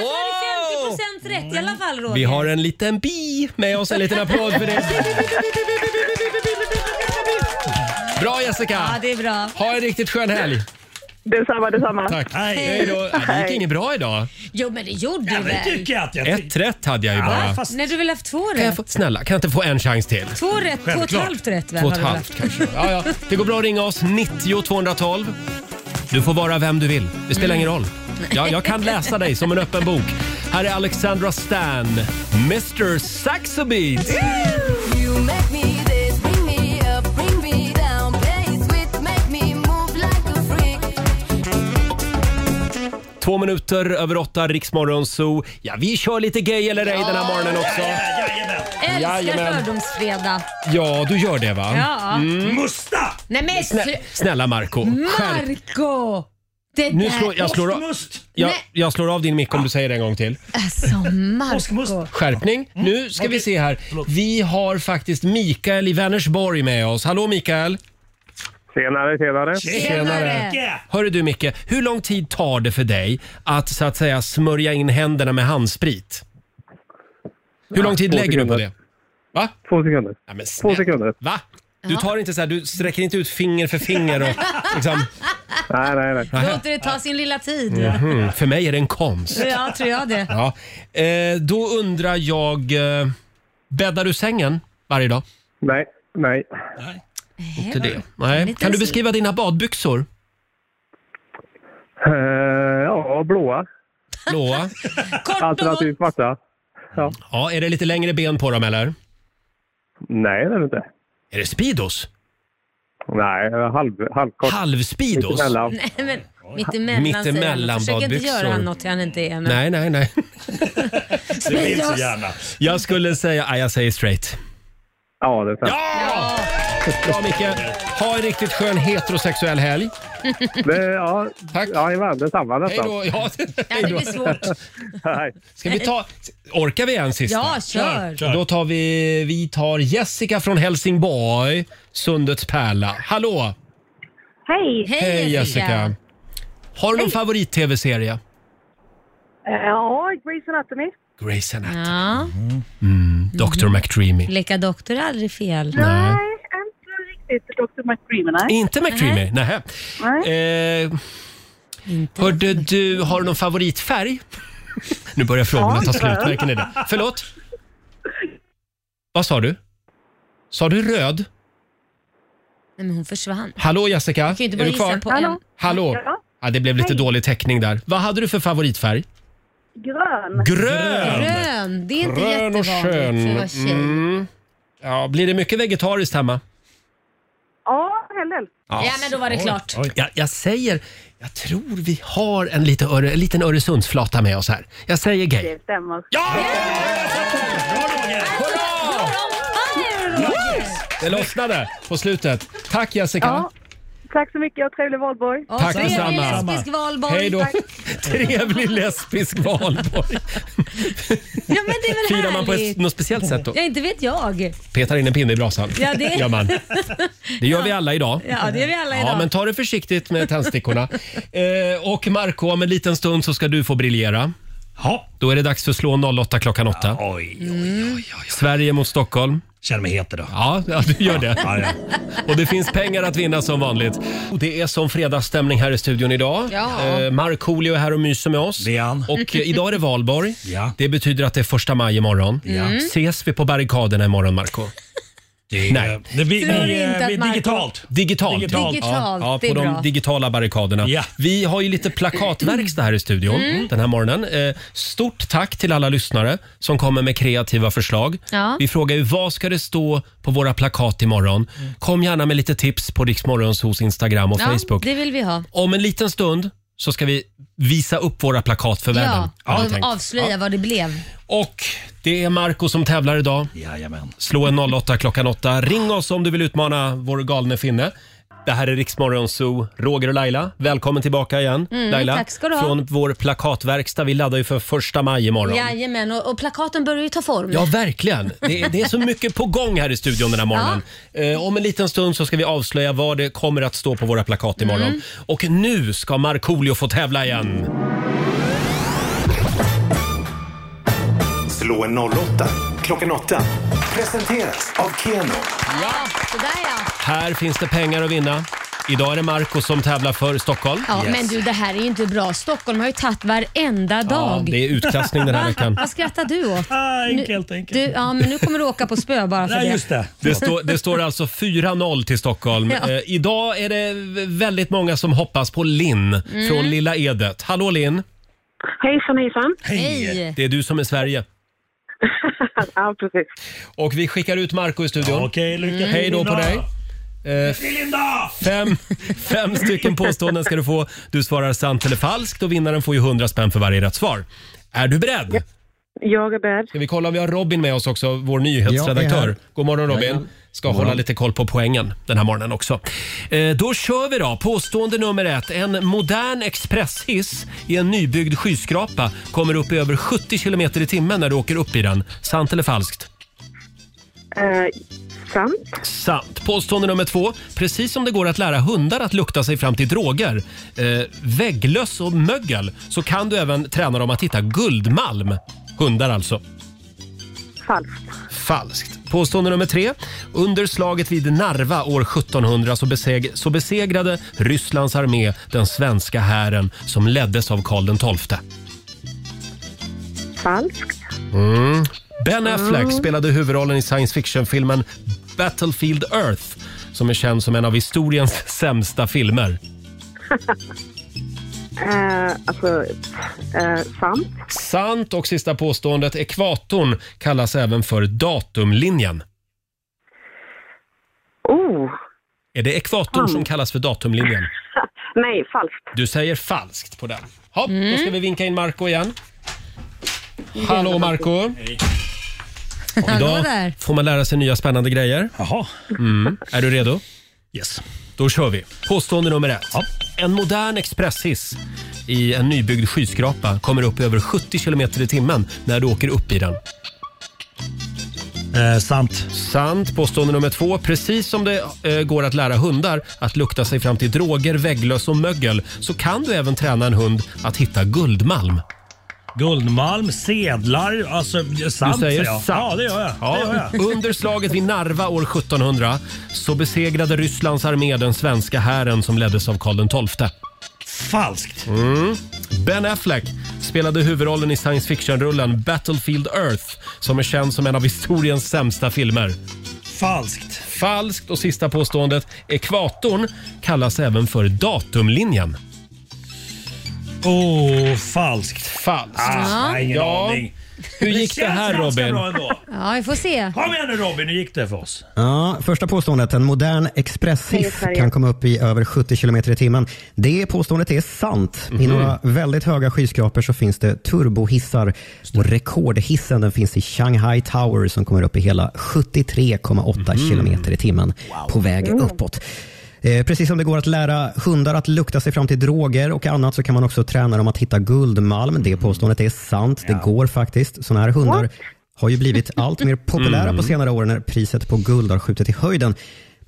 Speaker 2: är det 50% rätt i alla fall Roger.
Speaker 1: Vi har en liten bi med oss. En liten applåd för det. Bra
Speaker 2: Ja,
Speaker 1: Jessica!
Speaker 2: det är bra.
Speaker 1: Ha en riktigt skön helg.
Speaker 14: Detsamma, detsamma.
Speaker 1: Tack.
Speaker 10: Hej.
Speaker 1: Hej då. Ja, Det gick inget bra idag.
Speaker 2: Jo men det gjorde du
Speaker 10: Det
Speaker 2: väl?
Speaker 10: tycker jag att jag...
Speaker 1: Ett rätt hade jag ju bara.
Speaker 10: fast-
Speaker 2: När du väl haft två
Speaker 1: Kan jag
Speaker 2: rätt?
Speaker 1: få, snälla, kan jag inte få en chans till?
Speaker 2: Två rätt, två och ett
Speaker 1: Självklart.
Speaker 2: halvt rätt väl?
Speaker 1: Två och ett
Speaker 2: har du
Speaker 1: halvt
Speaker 2: väl haft?
Speaker 1: kanske. Ja, ja. Det går bra att ringa oss, 90 212. Du får vara vem du vill, det spelar ingen roll. Ja, jag kan läsa dig som en öppen bok. Här är Alexandra Stan, Mr Saxobeat.
Speaker 7: You make me this, bring me up, bring me down. Play sweet, make me move like a freak.
Speaker 1: Två minuter över åtta, Riksmorgon Zoo. Ja, vi kör lite gay eller ej den här morgonen också.
Speaker 2: Älskar
Speaker 1: Jajamän.
Speaker 2: fördomsfredag.
Speaker 1: Ja, du gör det va?
Speaker 2: Ja.
Speaker 1: Mm.
Speaker 10: Musta!
Speaker 2: Nej men
Speaker 1: Snä-
Speaker 2: slu-
Speaker 1: snälla Marco, skärp
Speaker 2: Marco! Det
Speaker 1: nu
Speaker 2: där.
Speaker 1: slår, jag, slår av, jag, jag slår av din mick om du säger det en gång till.
Speaker 2: Alltså Marco.
Speaker 1: Skärpning. Nu ska vi se här. Vi har faktiskt Mikael i Vänersborg med oss. Hallå Mikael!
Speaker 12: Senare, senare.
Speaker 1: Hörru du Micke, hur lång tid tar det för dig att så att säga smörja in händerna med handsprit? Hur lång tid
Speaker 12: Två
Speaker 1: lägger du på
Speaker 12: sekunder.
Speaker 1: det? Va? Två sekunder. Ja, men Två sekunder. Va? Du
Speaker 2: Ja.
Speaker 1: tar inte så här, du sträcker inte ut finger för finger och liksom... Nej, nej, nej.
Speaker 2: Låter det ta sin lilla tid.
Speaker 1: Mhm, För mig är det en konst.
Speaker 2: Ja, tror jag det.
Speaker 1: Ja. Eh, då undrar jag, eh, bäddar du sängen varje dag? Nej, nej. Inte det. Nej.
Speaker 12: Lite
Speaker 1: Kan du
Speaker 12: så.
Speaker 1: beskriva dina badbyxor?
Speaker 12: Eh, ja, blåa.
Speaker 1: Blåa.
Speaker 12: Alternativt svarta. Ja.
Speaker 1: Ja, är det lite längre ben på dem eller?
Speaker 12: Nej, det är det inte.
Speaker 1: Är det Speedos?
Speaker 12: Nej, halv, halvkort.
Speaker 1: Halvspeedos?
Speaker 12: Mittemellan.
Speaker 2: Nej, men mittemellan
Speaker 1: Mittemellan
Speaker 2: säger han. Försök inte
Speaker 1: badbyxor.
Speaker 2: göra han något han inte är. Men...
Speaker 1: Nej, nej, nej.
Speaker 2: Det vill så gärna.
Speaker 1: Jag skulle säga, nej, jag säger straight. Ja, det är sant. Ja! Bra Micke. Ha en riktigt skön heterosexuell helg. ja, Tack. Jajamän, detsamma
Speaker 12: nästan.
Speaker 1: Hej då. Ja,
Speaker 2: Ja, det blir svårt.
Speaker 1: Ska vi ta, orkar vi en sista?
Speaker 2: Ja, kör. Kör.
Speaker 1: Då tar vi, vi tar Jessica från Helsingborg, Sundets pärla. Hallå!
Speaker 11: Hej! Eh,
Speaker 1: Har du någon favorit-tv-serie?
Speaker 11: Ja, Grey's Anatomy.
Speaker 1: Grey's Anatomy.
Speaker 2: Ja.
Speaker 1: Mm. Dr McDreamy.
Speaker 2: Leka doktor är aldrig fel.
Speaker 1: Nej.
Speaker 11: Inte riktigt Dr. McDreamy, nej.
Speaker 1: Inte McDreamy? Nähä.
Speaker 11: Nej.
Speaker 1: Eh, hörde du, har du någon favoritfärg? nu börjar frågorna
Speaker 11: Ja,
Speaker 1: ta slut,
Speaker 11: röd.
Speaker 1: märker ni det? Förlåt? Vad sa du? Sa du röd?
Speaker 2: Nej, men hon försvann.
Speaker 1: Hallå Jessica,
Speaker 2: kan ju inte
Speaker 1: är
Speaker 2: bara
Speaker 1: du
Speaker 2: gissa
Speaker 1: kvar?
Speaker 2: på en. Hallå?
Speaker 1: Hallå?
Speaker 2: Ja.
Speaker 1: Ja, det blev lite dålig täckning där. Vad hade du för favoritfärg?
Speaker 11: Grön.
Speaker 1: Grön.
Speaker 2: Grön. Det är inte
Speaker 1: Grön och
Speaker 2: jättevanligt för
Speaker 1: skön.
Speaker 2: att vara tjej.
Speaker 1: Mm. Ja, blir det mycket vegetariskt hemma?
Speaker 11: Ja, heller.
Speaker 2: Ja, men då var det klart.
Speaker 1: Oj, oj. Jag, jag säger, jag tror vi har en, lite öre, en liten Öresundsflata med oss här. Jag säger gay.
Speaker 11: Det stämmer.
Speaker 1: Ja! Det lossnade på slutet. Tack Jessica.
Speaker 11: Ja. Tack så mycket och trevlig valborg.
Speaker 1: Tack detsamma. Hej då. Trevlig lesbisk valborg.
Speaker 2: Ja, men det är väl
Speaker 1: Firar man på ett,
Speaker 2: härligt?
Speaker 1: något speciellt sätt då?
Speaker 2: Ja, inte vet jag.
Speaker 1: Petar in en pinne i brasan.
Speaker 2: Ja, det-
Speaker 1: gör man. Det gör vi alla idag.
Speaker 2: Ja, det gör vi alla
Speaker 1: Ja,
Speaker 2: idag.
Speaker 1: men ta det försiktigt med tändstickorna. eh, och Marco, om en liten stund så ska du få briljera. Ja. Då är det dags för Slå 08 klockan 8. oj, Sverige mot Stockholm. Känner mig het idag. Ja, ja, du gör det.
Speaker 10: Ja, ja.
Speaker 1: Och det finns pengar att vinna som vanligt. Och Det är som fredagsstämning här i studion idag.
Speaker 10: Ja.
Speaker 1: Eh, Markoolio är här och myser med oss. Det är han. Och eh, idag är det valborg.
Speaker 10: Ja.
Speaker 1: Det betyder att det är första maj imorgon.
Speaker 10: Ja. Mm.
Speaker 1: Ses vi på barrikaderna imorgon, Marco?
Speaker 8: Eh,
Speaker 1: Nej.
Speaker 10: Det blir,
Speaker 1: Tror
Speaker 10: blir,
Speaker 1: inte att
Speaker 10: blir
Speaker 1: Marco-
Speaker 10: digitalt.
Speaker 1: Digitalt.
Speaker 10: Digitalt.
Speaker 1: ja.
Speaker 10: Digitalt,
Speaker 1: ja,
Speaker 10: det
Speaker 1: på
Speaker 10: är
Speaker 1: de
Speaker 10: bra.
Speaker 1: digitala barrikaderna. Vi har ju lite plakatverkstad här i studion
Speaker 2: Mm.
Speaker 1: den här morgonen. Eh, stort tack till alla lyssnare som kommer med kreativa förslag.
Speaker 2: Ja.
Speaker 1: Vi frågar ju vad ska det stå på våra plakat imorgon? Kom gärna med lite tips på Riksmorgons hos Instagram och
Speaker 2: ja,
Speaker 1: Facebook.
Speaker 2: det vill vi ha.
Speaker 1: Om en liten stund så ska vi visa upp våra plakat för världen.
Speaker 2: Ja,
Speaker 1: har vi
Speaker 2: och
Speaker 1: tänkt.
Speaker 2: avslöja vad det blev.
Speaker 1: Och det är Marco som tävlar idag. Jajamän. Slå en 08 klockan 8. Ring oss om du vill utmana vår galne finne. Det här är Riksmorgon Zoo, Roger och Laila. Välkommen tillbaka igen.
Speaker 2: Mm,
Speaker 1: Laila,
Speaker 2: tack ska du ha.
Speaker 1: från vår plakatverkstad. Vi laddar ju för första maj imorgon.
Speaker 2: Jajamän, och, och plakaten börjar ju ta form.
Speaker 1: Ja, verkligen. Det är, det är så mycket på gång här i studion den här morgonen. Eh, om en liten stund så ska vi avslöja vad det kommer att stå på våra plakat imorgon.
Speaker 2: Mm.
Speaker 1: Och nu ska Markoolio få tävla igen.
Speaker 15: Slå en 08 klockan 8. Presenteras av Keno.
Speaker 2: Ja, sådär ja.
Speaker 1: Här finns det pengar att vinna. Idag är det Marco som tävlar för Stockholm.
Speaker 2: ja Men du, det här är ju inte bra. Stockholm har ju tagit varenda dag.
Speaker 1: det är utklassning den här
Speaker 2: Va?
Speaker 1: veckan.
Speaker 2: Vad skrattar du åt?
Speaker 1: Ah,
Speaker 10: enkelt,
Speaker 2: nu, Du, ja, men nu kommer du åka på spö bara för det.
Speaker 1: Det, står- det står alltså 4-0 till Stockholm.
Speaker 2: Ja.
Speaker 1: Eh, idag är det väldigt många som hoppas på Linn
Speaker 11: Mm.
Speaker 1: från Lilla Edet. Hallå Linn!
Speaker 11: Hejsan, hejsan.
Speaker 1: Det är du som är Sverige.
Speaker 11: ja, precis.
Speaker 1: Och vi skickar ut Marco i studion. Okej,
Speaker 10: lycka
Speaker 8: Mm.
Speaker 10: till,
Speaker 1: Hej då på
Speaker 10: Linda.
Speaker 1: dig. Eh,
Speaker 10: Linda!
Speaker 1: Fem, fem stycken påståenden ska du få. Du svarar sant eller falskt och vinnaren får ju 100 spänn för varje rätt svar. Är du beredd?
Speaker 11: Jag är beredd.
Speaker 1: Ska vi kolla om vi har Robin med oss också, vår
Speaker 16: Ja, jag
Speaker 1: nyhetsredaktör.
Speaker 16: är här.
Speaker 1: God morgon Robin.
Speaker 16: Jajamän.
Speaker 1: Ska
Speaker 16: God morgon.
Speaker 1: hålla lite koll på poängen den här morgonen också. Eh, då kör vi då. Påstående nummer ett. En modern expresshiss i en nybyggd skyskrapa kommer upp i över 70 kilometer i timmen när du åker upp i den. Sant eller falskt?
Speaker 11: Eh, Sant.
Speaker 1: Sant. Påstående nummer två. Precis som det går att lära hundar att lukta sig fram till droger, eh, vägglöss och mögel, så kan du även träna dem att hitta guldmalm. Hundar alltså.
Speaker 11: Falskt.
Speaker 1: Falskt. Påstående nummer tre. Under slaget vid Narva år 1700 så, beseg, så besegrade Rysslands armé den svenska hären som leddes av Karl XII.
Speaker 11: Falskt.
Speaker 1: Mm. Ben Affleck
Speaker 11: Mm.
Speaker 1: spelade huvudrollen i science fiction-filmen Battlefield Earth som är känd som en av historiens sämsta filmer.
Speaker 11: Eh, alltså, eh, sant.
Speaker 1: Sant och sista påståendet, ekvatorn kallas även för datumlinjen.
Speaker 11: Oh.
Speaker 1: Är det ekvatorn som kallas för datumlinjen?
Speaker 11: Nej, falskt.
Speaker 1: Du säger falskt på den. Ja, Då ska vi vinka in Marco igen. Hallå Marco Och
Speaker 2: Han var
Speaker 1: Idag
Speaker 2: där.
Speaker 1: får man lära sig nya spännande grejer. Jaha. Mm. Är du redo? Yes. Då kör vi. Påstående nummer ett. En modern expresshiss i en nybyggd skyskrapa kommer upp i över 70 kilometer i timmen när du åker upp i den.
Speaker 8: Eh,
Speaker 1: sant. Sant. Påstående nummer två. Precis som det eh, går att lära hundar att lukta sig fram till droger, vägglöss och mögel så kan du även träna en hund att hitta guldmalm.
Speaker 8: Guldmalm, sedlar, alltså sant
Speaker 1: du säger
Speaker 8: jag.
Speaker 1: sant.
Speaker 8: Ja, det gör jag.
Speaker 1: Ja,
Speaker 8: Det gör jag.
Speaker 1: Under slaget vid Narva år 1700 så besegrade Rysslands armé den svenska hären som leddes av Karl XII. Falskt. Mm. Ben Affleck spelade huvudrollen i science fiction-rullen Battlefield Earth som är känd som en av historiens sämsta filmer. Falskt. Falskt. Och sista påståendet. Ekvatorn kallas även för datumlinjen. Åh, oh, falskt. Falskt.
Speaker 2: Ah, nej, ingen
Speaker 8: aning.
Speaker 1: Hur gick det, här
Speaker 8: känns ganska
Speaker 1: Robin?
Speaker 8: bra ändå.
Speaker 2: Ja, vi får se.
Speaker 8: Kom igen nu Robin, hur gick det för oss?
Speaker 7: Ja, första påståendet. En modern
Speaker 2: Hej,
Speaker 7: expresshiss
Speaker 2: Sverige.
Speaker 7: kan komma upp i över 70 kilometer i timmen. Det påståendet är sant. I
Speaker 17: Mhm.
Speaker 7: några väldigt höga skyskrapor så finns det turbohissar. Och rekordhissen den finns i Shanghai Tower som kommer upp i hela 73,8 kilometer i timmen på väg
Speaker 17: Mm.
Speaker 7: uppåt. Eh, Precis som det går att lära hundar att lukta sig fram till droger och annat så kan man också träna dem att hitta guldmalm. Det påståendet är sant. Det går faktiskt. Såna här hundar har ju blivit allt mer populära
Speaker 17: Mm.
Speaker 7: på senare år när priset på guld har skjutit i höjden.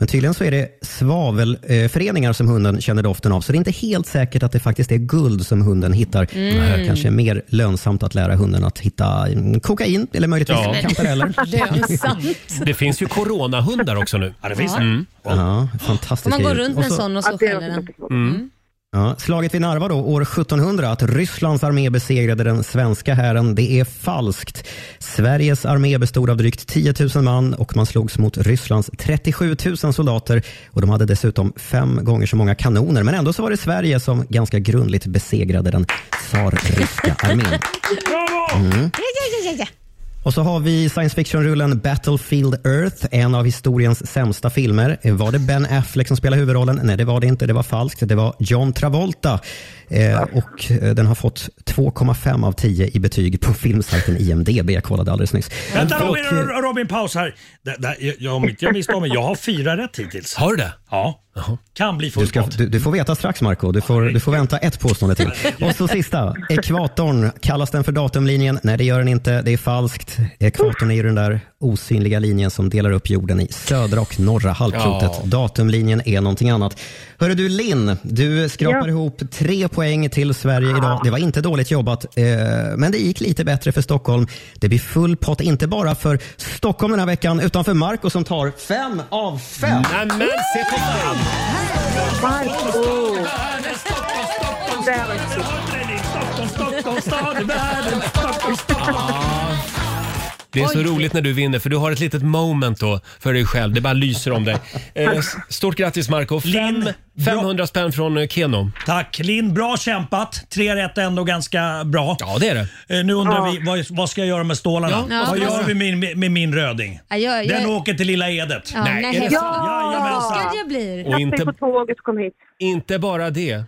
Speaker 7: Men tydligen så är det svavelföreningar som hunden känner doften av, så det är inte helt säkert att det faktiskt är guld som hunden hittar.
Speaker 17: Mm.
Speaker 7: Det här kanske är mer lönsamt att lära hunden att hitta mm, kokain eller möjligtvis
Speaker 1: Ja.
Speaker 7: kantareller.
Speaker 1: Det finns ju coronahundar också nu. Mm. Ja,
Speaker 7: det finns det. Ja, fantastiskt.
Speaker 2: Får man gå
Speaker 7: grejer.
Speaker 2: runt
Speaker 7: Och
Speaker 2: med en
Speaker 7: så-
Speaker 2: sån och så skäller den?
Speaker 7: Ja, slaget vid Narva då, år 1700, att Rysslands armé besegrade den svenska hären, det är falskt. Sveriges armé bestod av drygt 10 000 man och man slogs mot Rysslands 37 000 soldater och de hade dessutom fem gånger så många kanoner. Men ändå så var det Sverige som ganska grundligt besegrade den tsarryska armén. Mm.
Speaker 2: Ja, ja, ja, ja, ja.
Speaker 7: Och så har vi science fiction-rullen Battlefield Earth, en av historiens sämsta filmer. Var det Ben Affleck som spelade huvudrollen? Nej, det var det inte. Det var falskt. Det var John Travolta. Eh, och eh, den har fått 2,5 av 10 i betyg på filmsajten IMDB. Jag kollade alldeles nyss.
Speaker 8: Vänta
Speaker 7: Och,
Speaker 8: Robin, Ro- Robin paus här. Där, där, jag- jag, om inte jag misstar mig, jag har fyra rätt hittills.
Speaker 1: Har du det?
Speaker 8: Ja. Kan bli
Speaker 7: Du, ska,
Speaker 8: fullpott.
Speaker 7: du, du får veta strax Marco. Du får, du får vänta ett påstående till. Och så sista. Ekvatorn, kallas den för datumlinjen? Nej, det gör den inte. Det är falskt. Ekvatorn är ju den där osynliga linjen som delar upp jorden i södra och norra halvklotet.
Speaker 17: Ja.
Speaker 7: Datumlinjen är någonting annat. Hörru du Linn, du skrapar
Speaker 17: Ja.
Speaker 7: ihop tre poäng till Sverige idag. Det var inte dåligt jobbat, eh, men det gick lite bättre för Stockholm. Det blir full pott, inte bara för Stockholm den här veckan, utan för Marco som tar fem av fem.
Speaker 1: Nämen, se på fan!
Speaker 7: Marco!
Speaker 8: Stockholm stad i världen, Stockholm
Speaker 1: Det är så
Speaker 8: Oj.
Speaker 1: roligt när du vinner för du har ett litet moment då för dig själv. Det bara lyser om dig. Eh, s- Stort grattis Marco Fem, 500 spänn från eh, Keno.
Speaker 8: Tack Linn, bra kämpat. Tre rätt är ändå ganska bra. Eh,
Speaker 1: Ja det är det.
Speaker 8: Nu undrar
Speaker 1: Ja.
Speaker 8: vi, vad, vad ska jag göra med stålarna?
Speaker 2: Ja,
Speaker 8: vad
Speaker 2: ja.
Speaker 8: gör vi med, min- med min röding?
Speaker 2: Ja, jag- jag-
Speaker 8: Den åker till Lilla Edet.
Speaker 2: Ja, nej,
Speaker 8: är det
Speaker 2: nej.
Speaker 8: så?
Speaker 2: Jajamensan. jag blir.
Speaker 1: Och inte- Satt
Speaker 11: Tåget kom hit.
Speaker 1: Inte bara det.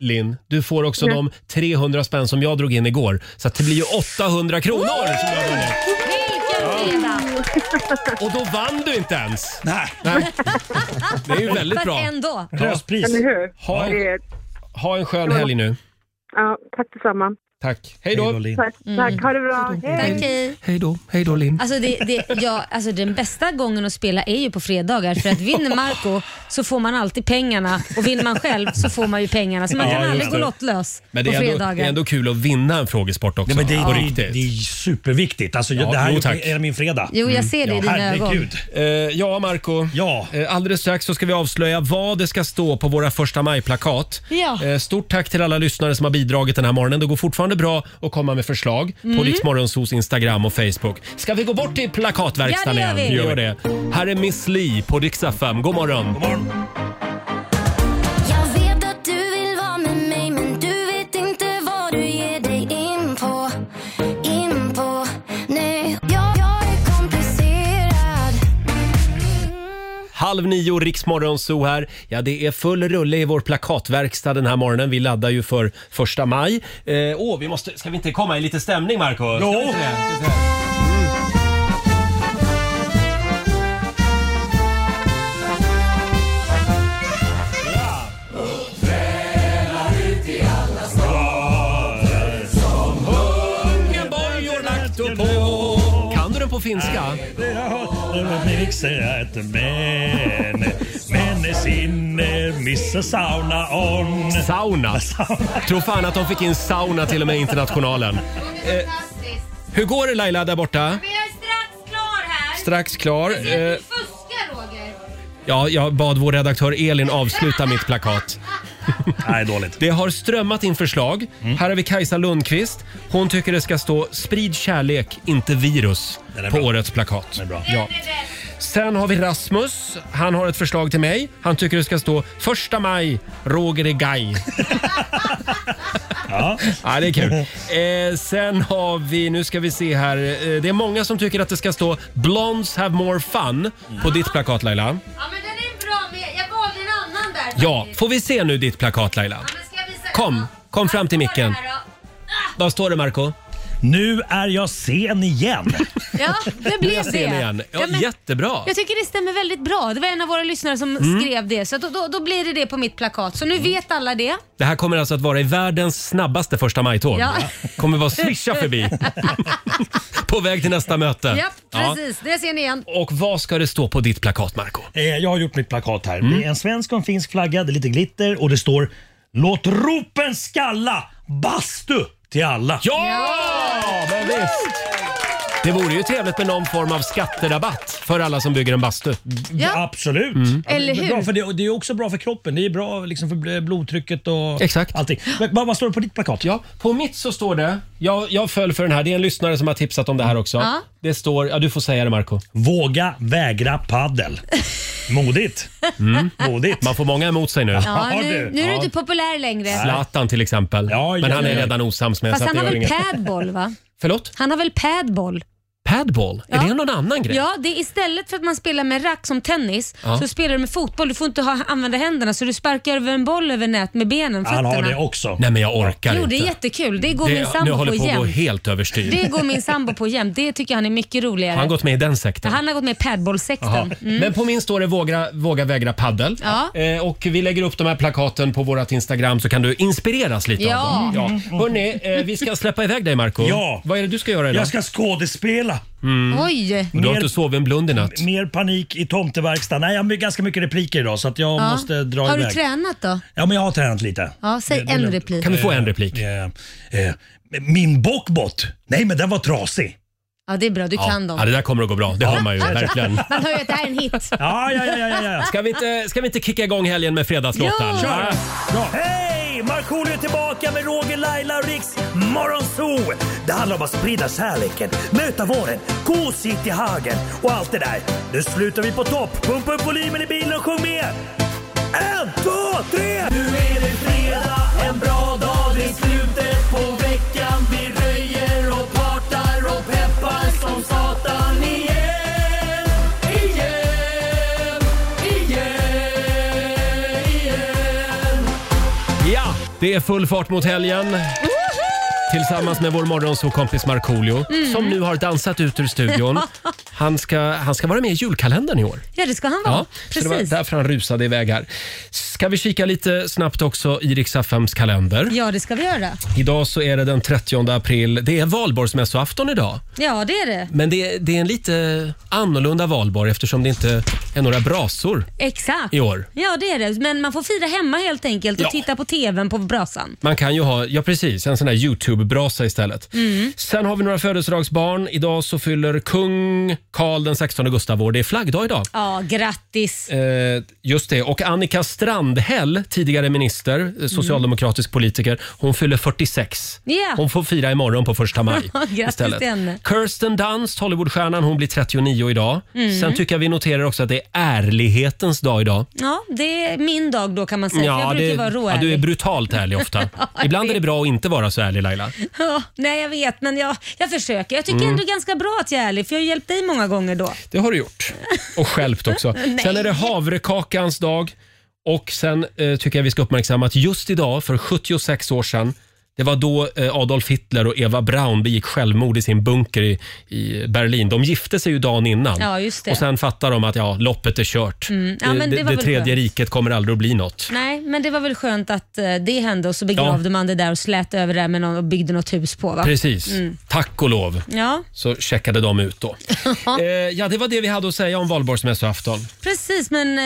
Speaker 1: Linn, du får också
Speaker 11: Ja.
Speaker 1: de 300 spänn som jag drog in igår. Så att det blir ju 800 kronor! Som jag vinner. Och då vann du inte ens!
Speaker 8: Nej.
Speaker 1: Det är ju väldigt bra.
Speaker 2: Fast ändå.
Speaker 1: Ja.
Speaker 11: Eller hur?
Speaker 1: Ha,
Speaker 11: Det är-
Speaker 1: ha en skön helg nu.
Speaker 11: Ja, tack detsamma.
Speaker 1: Tack. Hej då.
Speaker 18: Tack, tack. Ha det bra.
Speaker 1: Mm.
Speaker 2: Tack, hej.
Speaker 1: Hej då. Hej då, Linn.
Speaker 2: Alltså, det, det, ja, alltså den bästa gången att spela är ju på fredagar för att vinner Marco så får man alltid pengarna och vinner man själv så får man ju pengarna så man
Speaker 1: Ja,
Speaker 2: kan
Speaker 1: just
Speaker 2: aldrig gå
Speaker 1: det.
Speaker 2: lottlös
Speaker 1: Men det
Speaker 2: på
Speaker 1: är, ändå,
Speaker 2: fredagar.
Speaker 1: det är ändå kul att vinna en frågesport också.
Speaker 8: Nej, men det,
Speaker 1: på
Speaker 8: är- det,
Speaker 1: riktigt.
Speaker 8: är- det är superviktigt. Alltså,
Speaker 1: Ja,
Speaker 8: det här
Speaker 1: jo,
Speaker 8: är-
Speaker 1: tack.
Speaker 8: är min fredag.
Speaker 2: Jo,
Speaker 1: Mm.
Speaker 2: jag ser det i
Speaker 8: ja,
Speaker 2: dina
Speaker 8: herregud.
Speaker 1: Eh, ja, Marco.
Speaker 8: Ja.
Speaker 1: Eh, alldeles strax så ska vi avslöja vad det ska stå på våra första maj-plakat.
Speaker 2: Ja.
Speaker 1: Eh, stort tack till alla lyssnare som har bidragit den här morgonen. Det går fortfarande bra att komma med förslag på
Speaker 2: Mm.
Speaker 1: Riksmorgonsos Instagram och Facebook. Ska vi gå bort till plakatverkstan
Speaker 2: Ja, det gör vi.
Speaker 1: igen? Gör det. Här är Miss Li på Rix FM. God morgon. God morgon.
Speaker 7: Jag vet att du vill vara med mig men du vet inte vad du ger dig in på In på nu Jag, jag är komplicerad Mm.
Speaker 1: Halv nio, Riksmorgonso här. Ja, det är full rulle i vår plakatverkstad den här morgonen. Vi laddar ju för första maj. Eh, åh, vi måste, ska vi inte komma i lite stämning, Marco? Ska vi inte det? Ska vi se. Kan du den på finska? Sauna. Tror fan att de fick in sauna till och med i Internationalen. Eh, hur går det Laila där borta?
Speaker 7: Vi är strax klar här
Speaker 1: Strax klar. Eh,
Speaker 7: fuskar Roger
Speaker 1: ja, jag bad vår redaktör Elin avsluta mitt plakat.
Speaker 8: Nej, dåligt.
Speaker 1: Det har strömmat in förslag. Här har vi Kajsa Lundqvist. Hon tycker det ska stå “Sprid kärlek, inte virus” på årets plakat. Ja. Sen har vi Rasmus. Han har ett förslag till mig. Han tycker det ska stå “Första maj, Roger är gay”.
Speaker 8: Ja.
Speaker 1: ja, det är kul. Eh, sen har vi, nu ska vi se här. Eh, det är många som tycker att det ska stå “Blondes have more fun” på ditt plakat Laila.
Speaker 7: Ja men den är bra med, jag valde en annan där
Speaker 1: Ja, får vi se nu ditt plakat Laila? Kom, kom fram till micken. Vad står det Marco?
Speaker 8: Nu är jag sen igen.
Speaker 2: Ja, det
Speaker 1: Nu är
Speaker 2: blev
Speaker 1: jag
Speaker 2: det.
Speaker 1: sen igen. Ja,
Speaker 2: Ja, men-
Speaker 1: Jättebra.
Speaker 2: Jag tycker det stämmer väldigt bra. Det var en av våra lyssnare som
Speaker 1: Mm.
Speaker 2: skrev det. Så att då, då, då blir det det på mitt plakat. Så nu vet alla det.
Speaker 1: Det här kommer alltså att vara i världens snabbaste första maj-tåg.
Speaker 2: Ja.
Speaker 1: Kommer bara swisha förbi. på väg till nästa möte.
Speaker 2: Ja, precis. Det ser ni igen.
Speaker 1: Ja. Och vad ska det stå på ditt plakat Marco?
Speaker 8: Eh, Jag har gjort mitt plakat här. Det är en svensk och en finsk flagga, det är lite glitter och det står “Låt ropen skalla! Bastu till alla!”
Speaker 1: Ja! men visst. Det vore ju trevligt med någon form av skatterabatt för alla som bygger en bastu.
Speaker 2: Ja.
Speaker 8: Absolut.
Speaker 2: Eller
Speaker 8: det är
Speaker 2: Mm. hur?
Speaker 8: Bra för det, det är också bra för kroppen. Det är bra liksom för bl- blodtrycket och
Speaker 1: Exakt.
Speaker 8: allting. Men vad, vad står det på ditt plakat?
Speaker 1: Ja, på mitt så står det... Jag, jag föll för den här. Det är en lyssnare som har tipsat om det här också.
Speaker 8: Ja.
Speaker 1: Det står... Ja, du får säga det Marco.
Speaker 8: Våga vägra paddel. Modigt. Modigt.
Speaker 1: Man får många emot sig nu.
Speaker 2: Ja, nu, nu är du inte populär längre.
Speaker 1: Zlatan till exempel. Men
Speaker 8: ja,
Speaker 1: han är
Speaker 8: ja.
Speaker 1: redan osams med.
Speaker 2: Fast
Speaker 1: så att
Speaker 2: han
Speaker 1: det
Speaker 2: har
Speaker 1: gör
Speaker 2: väl
Speaker 1: inget.
Speaker 2: padboll va?
Speaker 1: Förlåt?
Speaker 2: Han har väl padboll?
Speaker 1: Padball?
Speaker 2: Ja.
Speaker 1: Är det någon annan grej?
Speaker 2: Ja, det är istället för att man spelar med rack som tennis
Speaker 1: Ja.
Speaker 2: så spelar du med fotboll. Du får inte ha, använda händerna så du sparkar över en boll över nät med benen, fötterna.
Speaker 8: Han har det också.
Speaker 1: Nej men jag orkar
Speaker 2: Jo,
Speaker 1: inte.
Speaker 2: det är jättekul. Det går
Speaker 1: Det-
Speaker 2: min
Speaker 1: nu
Speaker 2: sambo
Speaker 1: håller
Speaker 2: på
Speaker 1: på att gå
Speaker 2: jämt.
Speaker 1: helt överstyr.
Speaker 2: Det går min sambo på jämt. Det tycker han är mycket roligare.
Speaker 1: Har han gått med i den sekten?
Speaker 2: Han har gått med i
Speaker 1: Jaha.
Speaker 2: padbollsekten. Mm.
Speaker 1: Men på min står det våga, våga vägra paddel.
Speaker 2: Ja.
Speaker 1: Eh, och vi lägger upp de här plakaten på vårt Instagram så kan du inspireras lite
Speaker 2: Ja.
Speaker 1: av dem.
Speaker 2: Mm.
Speaker 1: Ja. Hörrni, eh, vi ska släppa iväg dig Marco
Speaker 8: Ja.
Speaker 1: Vad är det du ska göra idag?
Speaker 8: Jag ska skådespela.
Speaker 1: Mm.
Speaker 2: Oj!
Speaker 1: Du har inte sovit en blund i natt.
Speaker 8: Mer panik i tomteverkstan. Nej, jag har ganska mycket repliker idag så att jag
Speaker 2: Ja.
Speaker 8: måste dra
Speaker 2: har
Speaker 8: iväg.
Speaker 2: du tränat då?
Speaker 8: Ja, men jag har tränat lite.
Speaker 2: Ja, säg
Speaker 8: Det- det-
Speaker 2: en replik.
Speaker 1: en replik?
Speaker 8: Eh, eh, min bockbot? Nej, men den var trasig.
Speaker 2: Ja, det är bra. Du kan dem.
Speaker 1: Ja, det där kommer att gå bra. Det har man ju verkligen.
Speaker 2: Man hör ju att det här är en hit.
Speaker 8: Ja, ja, ja, ja, ja.
Speaker 1: Ska vi inte, ska vi inte kicka igång helgen med fredagslåtar?
Speaker 8: Jo! Kör!
Speaker 1: Ja.
Speaker 8: Hej! Markoolio är tillbaka med Roger, Laila och Riks Morgonzoo! Det handlar om att sprida kärleken, möta våren, gosigt i hagen och allt det där. Nu slutar vi på topp! Pumpa upp volymen i bilen och sjung med! En, två, tre! Nu är det fredag, en bra dag, det är slutet på veckan. Vi röjer och partar och peppar som satan igen, igen, igen, igen.
Speaker 1: Ja, det är full fart mot helgen. Tillsammans med vår morgonsåkompis Markoolio
Speaker 2: Mm.
Speaker 1: som nu har dansat ut ur studion. Han ska, han ska vara med i julkalendern i år.
Speaker 2: Ja, det ska han vara.
Speaker 1: Ja, så det var
Speaker 2: Precis.
Speaker 1: därför han rusade iväg här. Ska vi kika lite snabbt också i Rix FMs kalender?
Speaker 2: Ja, det ska vi göra.
Speaker 1: Idag så är det den 30 april. Det är valborgsmässoafton idag.
Speaker 2: Ja, det är det.
Speaker 1: Men det, det är en lite annorlunda valborg eftersom det inte är några brasor.
Speaker 2: Exakt.
Speaker 1: I år.
Speaker 2: Ja, det är det. Men man får fira hemma helt enkelt och
Speaker 1: Ja.
Speaker 2: titta på TVn på brasan.
Speaker 1: Man kan ju ha, ja precis, en sån här Youtube-brasa istället.
Speaker 2: Mm.
Speaker 1: Sen har vi några födelsedagsbarn. Idag så fyller kung Karl den 16 Gustav år. Det är flaggdag idag.
Speaker 2: Ja, grattis.
Speaker 1: Eh, just det. Och Annika Strandhäll, tidigare minister,
Speaker 2: Mm.
Speaker 1: eh, socialdemokratisk politiker, hon fyller 46.
Speaker 2: Ja.
Speaker 1: Hon får fira imorgon på första maj.
Speaker 2: Grattis
Speaker 1: istället.
Speaker 2: till henne.
Speaker 1: Kirsten Dunst, Hollywoodstjärnan, hon blir 39 idag.
Speaker 2: Mm.
Speaker 1: Sen tycker jag vi noterar också att det är ärlighetens dag idag.
Speaker 2: Ja, det är min dag då kan man säga. för jag brukar
Speaker 1: det-
Speaker 2: vara
Speaker 1: ja,
Speaker 2: råärlig.
Speaker 1: du är brutalt ärlig ofta.
Speaker 2: Ja, jag
Speaker 1: Ibland är det bra att inte vara så ärlig Laila.
Speaker 2: Ja, nej, jag vet, men jag, jag försöker. Jag tycker
Speaker 1: Mm.
Speaker 2: ändå ganska bra att jag är ärlig, för jag har hjälpt dig många gånger då.
Speaker 1: Det har du gjort. Och skälpt också.
Speaker 2: Nej.
Speaker 1: Sen är det havrekakans dag. Och sen eh, tycker jag vi ska uppmärksamma att just idag, för 76 år sedan, det var då eh, Adolf Hitler och Eva Braun begick självmord i sin bunker i, i Berlin. De gifte sig ju dagen innan.
Speaker 2: Ja, just det.
Speaker 1: Och sen fattar de att ja, loppet är kört.
Speaker 2: Mm. Ja,
Speaker 1: Eh,
Speaker 2: men
Speaker 1: det,
Speaker 2: det
Speaker 1: det,
Speaker 2: var väl
Speaker 1: tredje
Speaker 2: skönt.
Speaker 1: riket kommer aldrig att bli något.
Speaker 2: Nej, men det var väl skönt att eh, det hände och så begravde man det där och slät över det där med någon och byggde något hus på. Va?
Speaker 1: Precis.
Speaker 2: Mm.
Speaker 1: Tack och lov
Speaker 2: Ja,
Speaker 1: så checkade de ut då. eh, ja, det var det vi hade att säga om valborgsmässoafton.
Speaker 2: precis, men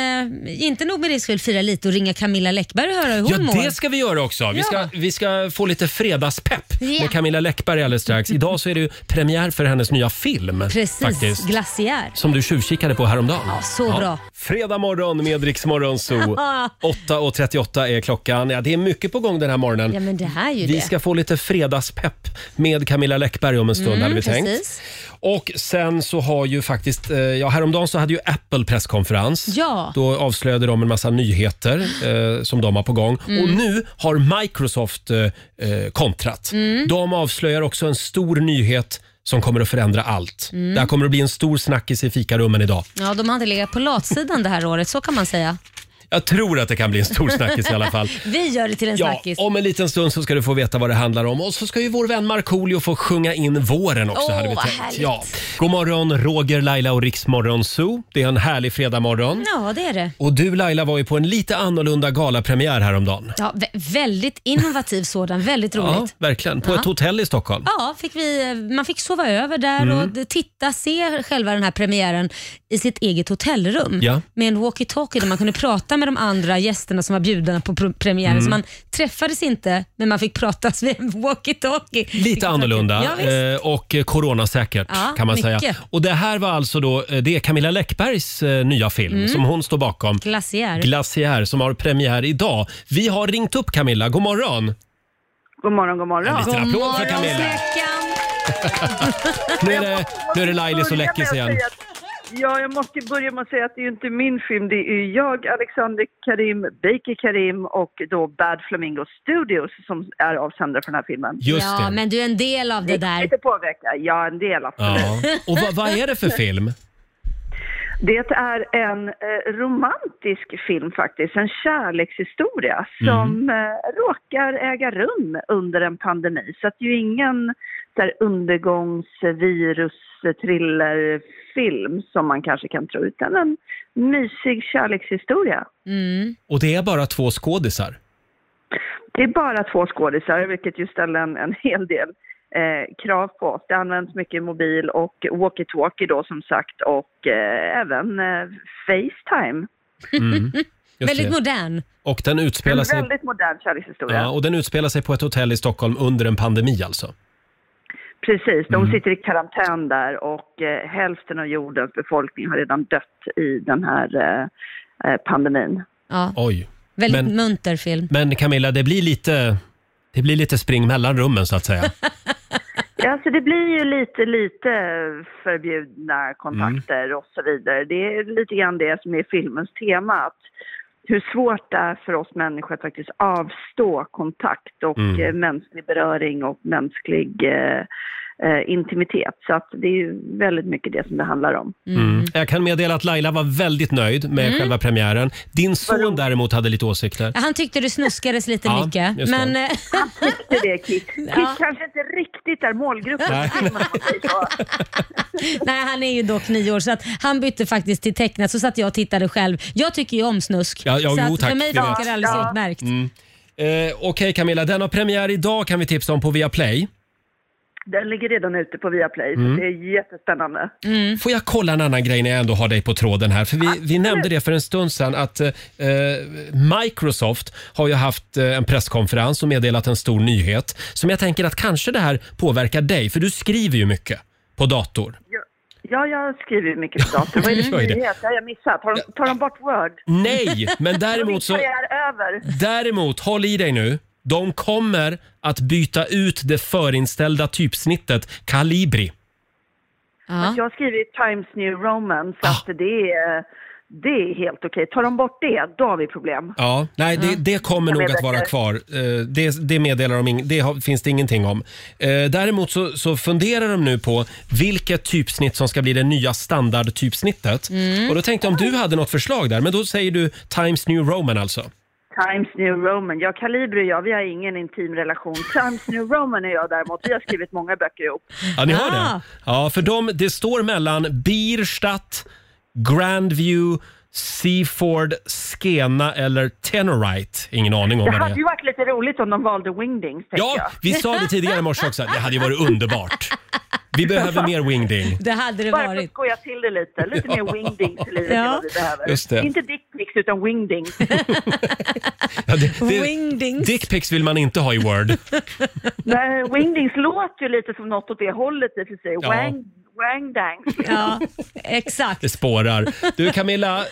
Speaker 2: eh, inte nog med det ska vi fira lite och ringa Camilla Läckberg och höra hur hon
Speaker 1: Ja,
Speaker 2: mår.
Speaker 1: det ska vi göra också. Vi ska,
Speaker 2: Ja.
Speaker 1: vi ska få lite fredagspepp
Speaker 2: Ja.
Speaker 1: med Camilla Läckberg alldeles strax. Idag så är det ju premiär för hennes nya film.
Speaker 2: Precis,
Speaker 1: Faktiskt.
Speaker 2: glaciär.
Speaker 1: Som du tjuvkikade på häromdagen. Ja,
Speaker 2: så bra.
Speaker 1: Fredag morgon med Rix Morgon Zoo. 8.38 är klockan. Ja, det är mycket på gång den här morgonen.
Speaker 2: Ja, men det här är ju
Speaker 1: Vi
Speaker 2: det.
Speaker 1: ska få lite fredagspepp med Camilla Läckberg om en stund
Speaker 2: Mm,
Speaker 1: hade vi
Speaker 2: precis.
Speaker 1: tänkt. Och sen så har ju faktiskt, eh, ja häromdagen så hade ju Apple presskonferens.
Speaker 2: Ja.
Speaker 1: Då avslöjade de en massa nyheter eh, som de har på gång.
Speaker 2: Mm.
Speaker 1: Och nu har Microsoft eh, eh, kontrat.
Speaker 2: Mm.
Speaker 1: De avslöjar också en stor nyhet som kommer att förändra allt.
Speaker 2: Mm.
Speaker 1: Det här kommer att bli en stor snackis i fikarummen idag.
Speaker 2: Ja, de har inte legat på latsidan det här året, så kan man säga.
Speaker 1: Jag tror att det kan bli en stor snackis i alla fall.
Speaker 2: vi gör det till en
Speaker 1: Ja,
Speaker 2: snackis.
Speaker 1: om en liten stund så ska du få veta vad det handlar om. Och så ska ju vår vän Markoolio få sjunga in våren också.
Speaker 2: Åh,
Speaker 1: hade vi
Speaker 2: vad
Speaker 1: tänkt.
Speaker 2: härligt.
Speaker 1: Ja. God morgon Roger, Laila och Riksmorgon Zoo. Det är en härlig fredagmorgon.
Speaker 2: Ja, det är det.
Speaker 1: Och du Laila var ju på en lite annorlunda galapremiär häromdagen.
Speaker 2: Ja, vä- väldigt innovativ sådan, väldigt roligt.
Speaker 1: Ja, verkligen. På
Speaker 2: Ja.
Speaker 1: ett hotell i Stockholm.
Speaker 2: Ja, fick vi, man fick sova över där
Speaker 1: Mm.
Speaker 2: och d- titta, se själva den här premiären i sitt eget hotellrum
Speaker 1: Ja.
Speaker 2: med en walkie-talkie där man kunde prata med de andra gästerna som var bjudna på pr- premiären.
Speaker 1: Mm.
Speaker 2: Så man träffades inte, men man fick pratas via en walkie-talkie.
Speaker 1: Lite annorlunda
Speaker 2: Ja, visst.
Speaker 1: eh, och eh, coronasäkert
Speaker 2: Ja,
Speaker 1: kan man
Speaker 2: mycket.
Speaker 1: säga. Och det här var alltså då, eh, det är Camilla Läckbergs eh, nya film
Speaker 2: Mm.
Speaker 1: som hon står bakom.
Speaker 2: Glaciär.
Speaker 1: Glaciär som har premiär idag. Vi har ringt upp Camilla, god morgon!
Speaker 11: God morgon, god morgon.
Speaker 1: En liten
Speaker 11: god
Speaker 1: applåd för Camilla. nu, är det, nu är det Lailis och Läckis igen.
Speaker 11: Ja, jag måste ju börja med att säga att det är ju inte min film. Det är ju jag, Alexander Karim, Baker Karim och då Bad Flamingo Studios som är avsändare för den här filmen.
Speaker 1: Just
Speaker 2: ja,
Speaker 1: det.
Speaker 2: men du är en del av det där.
Speaker 11: Lite påverka, ja en del av
Speaker 1: Ja. Och vad, vad är det för film?
Speaker 11: Det är en eh, romantisk film faktiskt, en kärlekshistoria som eh, råkar äga rum under en pandemi. Så att det är ju ingen så här, undergångs-virus-thrillerfilm som man kanske kan tro, utan en mysig kärlekshistoria.
Speaker 1: Och det är bara två skådisar.
Speaker 11: Det är bara två skådisar, vilket ju ställer en, en hel del eh, krav på oss. Det används mycket mobil och walkie-talkie då som sagt och eh, även eh, Facetime.
Speaker 1: Mm. Just
Speaker 2: Väldigt
Speaker 1: det.
Speaker 2: modern.
Speaker 1: Och den utspelar
Speaker 11: En
Speaker 1: sig,
Speaker 11: väldigt modern kärlekshistoria.
Speaker 1: ja, och den utspelar sig på ett hotell i Stockholm under en pandemi alltså.
Speaker 11: Precis, de
Speaker 1: Mm.
Speaker 11: sitter i karantän där och eh, hälften av jordens befolkning har redan dött i den här eh, eh, pandemin.
Speaker 2: Ja.
Speaker 1: Oj.
Speaker 2: Väldigt
Speaker 1: Men-
Speaker 2: munter film.
Speaker 1: Men Camilla, det blir lite, det blir lite spring mellan rummen så att säga.
Speaker 11: Ja, så det blir ju lite, lite förbjudna kontakter
Speaker 1: Mm.
Speaker 11: och så vidare. Det är lite grann det som är filmens tema. Att hur svårt det är för oss människor att faktiskt avstå kontakt och
Speaker 1: Mm.
Speaker 11: eh, mänsklig beröring och mänsklig eh, eh, intimitet. Så att det är ju väldigt mycket det som det handlar om.
Speaker 1: Mm. Jag kan meddela att Laila var väldigt nöjd med
Speaker 2: Mm.
Speaker 1: själva premiären. Din son däremot hade lite åsikter.
Speaker 2: Han tyckte du snuskades lite
Speaker 1: Ja,
Speaker 2: mycket.
Speaker 1: just det.
Speaker 2: Men, eh,
Speaker 11: Han tyckte det, Kit. Kit kanske inte riktigt är målgruppen.
Speaker 1: Nej.
Speaker 2: Nej, han är ju dock nio år så att han bytte faktiskt till tecknat så satt jag och tittade själv. Jag tycker ju om snusk.
Speaker 1: Ja, ja,
Speaker 2: så
Speaker 1: jo,
Speaker 2: att
Speaker 1: tack,
Speaker 2: för mig
Speaker 1: det
Speaker 2: funkar
Speaker 1: vet.
Speaker 2: det alldeles
Speaker 1: Ja.
Speaker 2: utmärkt.
Speaker 1: Mm. Eh, Okej Camilla, den har premiär idag kan vi tipsa om på Viaplay.
Speaker 11: Den ligger redan ute på Viaplay,
Speaker 1: Mm.
Speaker 11: så det är jättespännande.
Speaker 1: Får jag kolla en annan grej när jag ändå har dig på tråden här? För vi, vi nämnde det för en stund sedan att eh, eh, Microsoft har ju haft eh, en presskonferens och meddelat en stor nyhet som jag tänker att kanske det här påverkar dig, för du skriver ju mycket på dator.
Speaker 11: Ja, jag skriver ju mycket på datorn. Vad är det för
Speaker 1: gör ju det.
Speaker 11: nyhet? Det har jag missat. Har de, tar de bort Word?
Speaker 1: Nej, men däremot så-
Speaker 11: Min karriär är över.
Speaker 1: Däremot, håll i dig nu. De kommer att byta ut det förinställda typsnittet Calibri.
Speaker 11: Men jag skriver i Times New Roman, så att det är, det är helt okej. Tar de bort det, då har vi problem.
Speaker 1: Ja, nej, det, det kommer
Speaker 11: Som
Speaker 1: nog
Speaker 11: är
Speaker 1: att vara
Speaker 11: Mm. bättre.
Speaker 1: kvar. Eh, Det, det meddelar de ing- det har, finns det ingenting om. Eh, Däremot så, så funderar de nu på vilket typsnitt som ska bli det nya standardtypsnittet.
Speaker 11: Mm.
Speaker 1: Och då tänkte jag om du hade något förslag där, men då säger du Times New Roman alltså.
Speaker 11: Times New Roman. Jag, Kaliber och jag, vi har ingen intim relation. Times New Roman är jag däremot. Vi har skrivit många böcker ihop.
Speaker 1: Ja, ni har
Speaker 11: Ah.
Speaker 1: det? Ja, för de, det står mellan Bierstadt, Grandview, Seaford, Skena eller Tenorite. Ingen aning om
Speaker 11: Det
Speaker 1: vad det
Speaker 11: hade ju
Speaker 1: är.
Speaker 11: varit lite roligt om de valde Wingdings, tänker
Speaker 1: Ja,
Speaker 11: jag.
Speaker 1: vi sa det tidigare i morse också. Det hade ju varit underbart. Vi behöver mer wingding.
Speaker 2: Det hade det
Speaker 11: Bara för
Speaker 2: varit.
Speaker 11: att skoja till det lite. Lite mer wingdings i livet
Speaker 2: Ja.
Speaker 11: är vad vi behöver.
Speaker 1: Just det.
Speaker 11: Inte dickpics utan wingdings.
Speaker 1: Ja, det,
Speaker 2: Wingdings.
Speaker 1: Dickpics vill man inte ha i Word.
Speaker 11: Nej, wingdings låter ju lite som något åt det hållet i och för sig.
Speaker 1: Ja.
Speaker 11: Wang, wangdangs.
Speaker 2: Ja, exakt.
Speaker 1: Det spårar. Du Camilla, eh,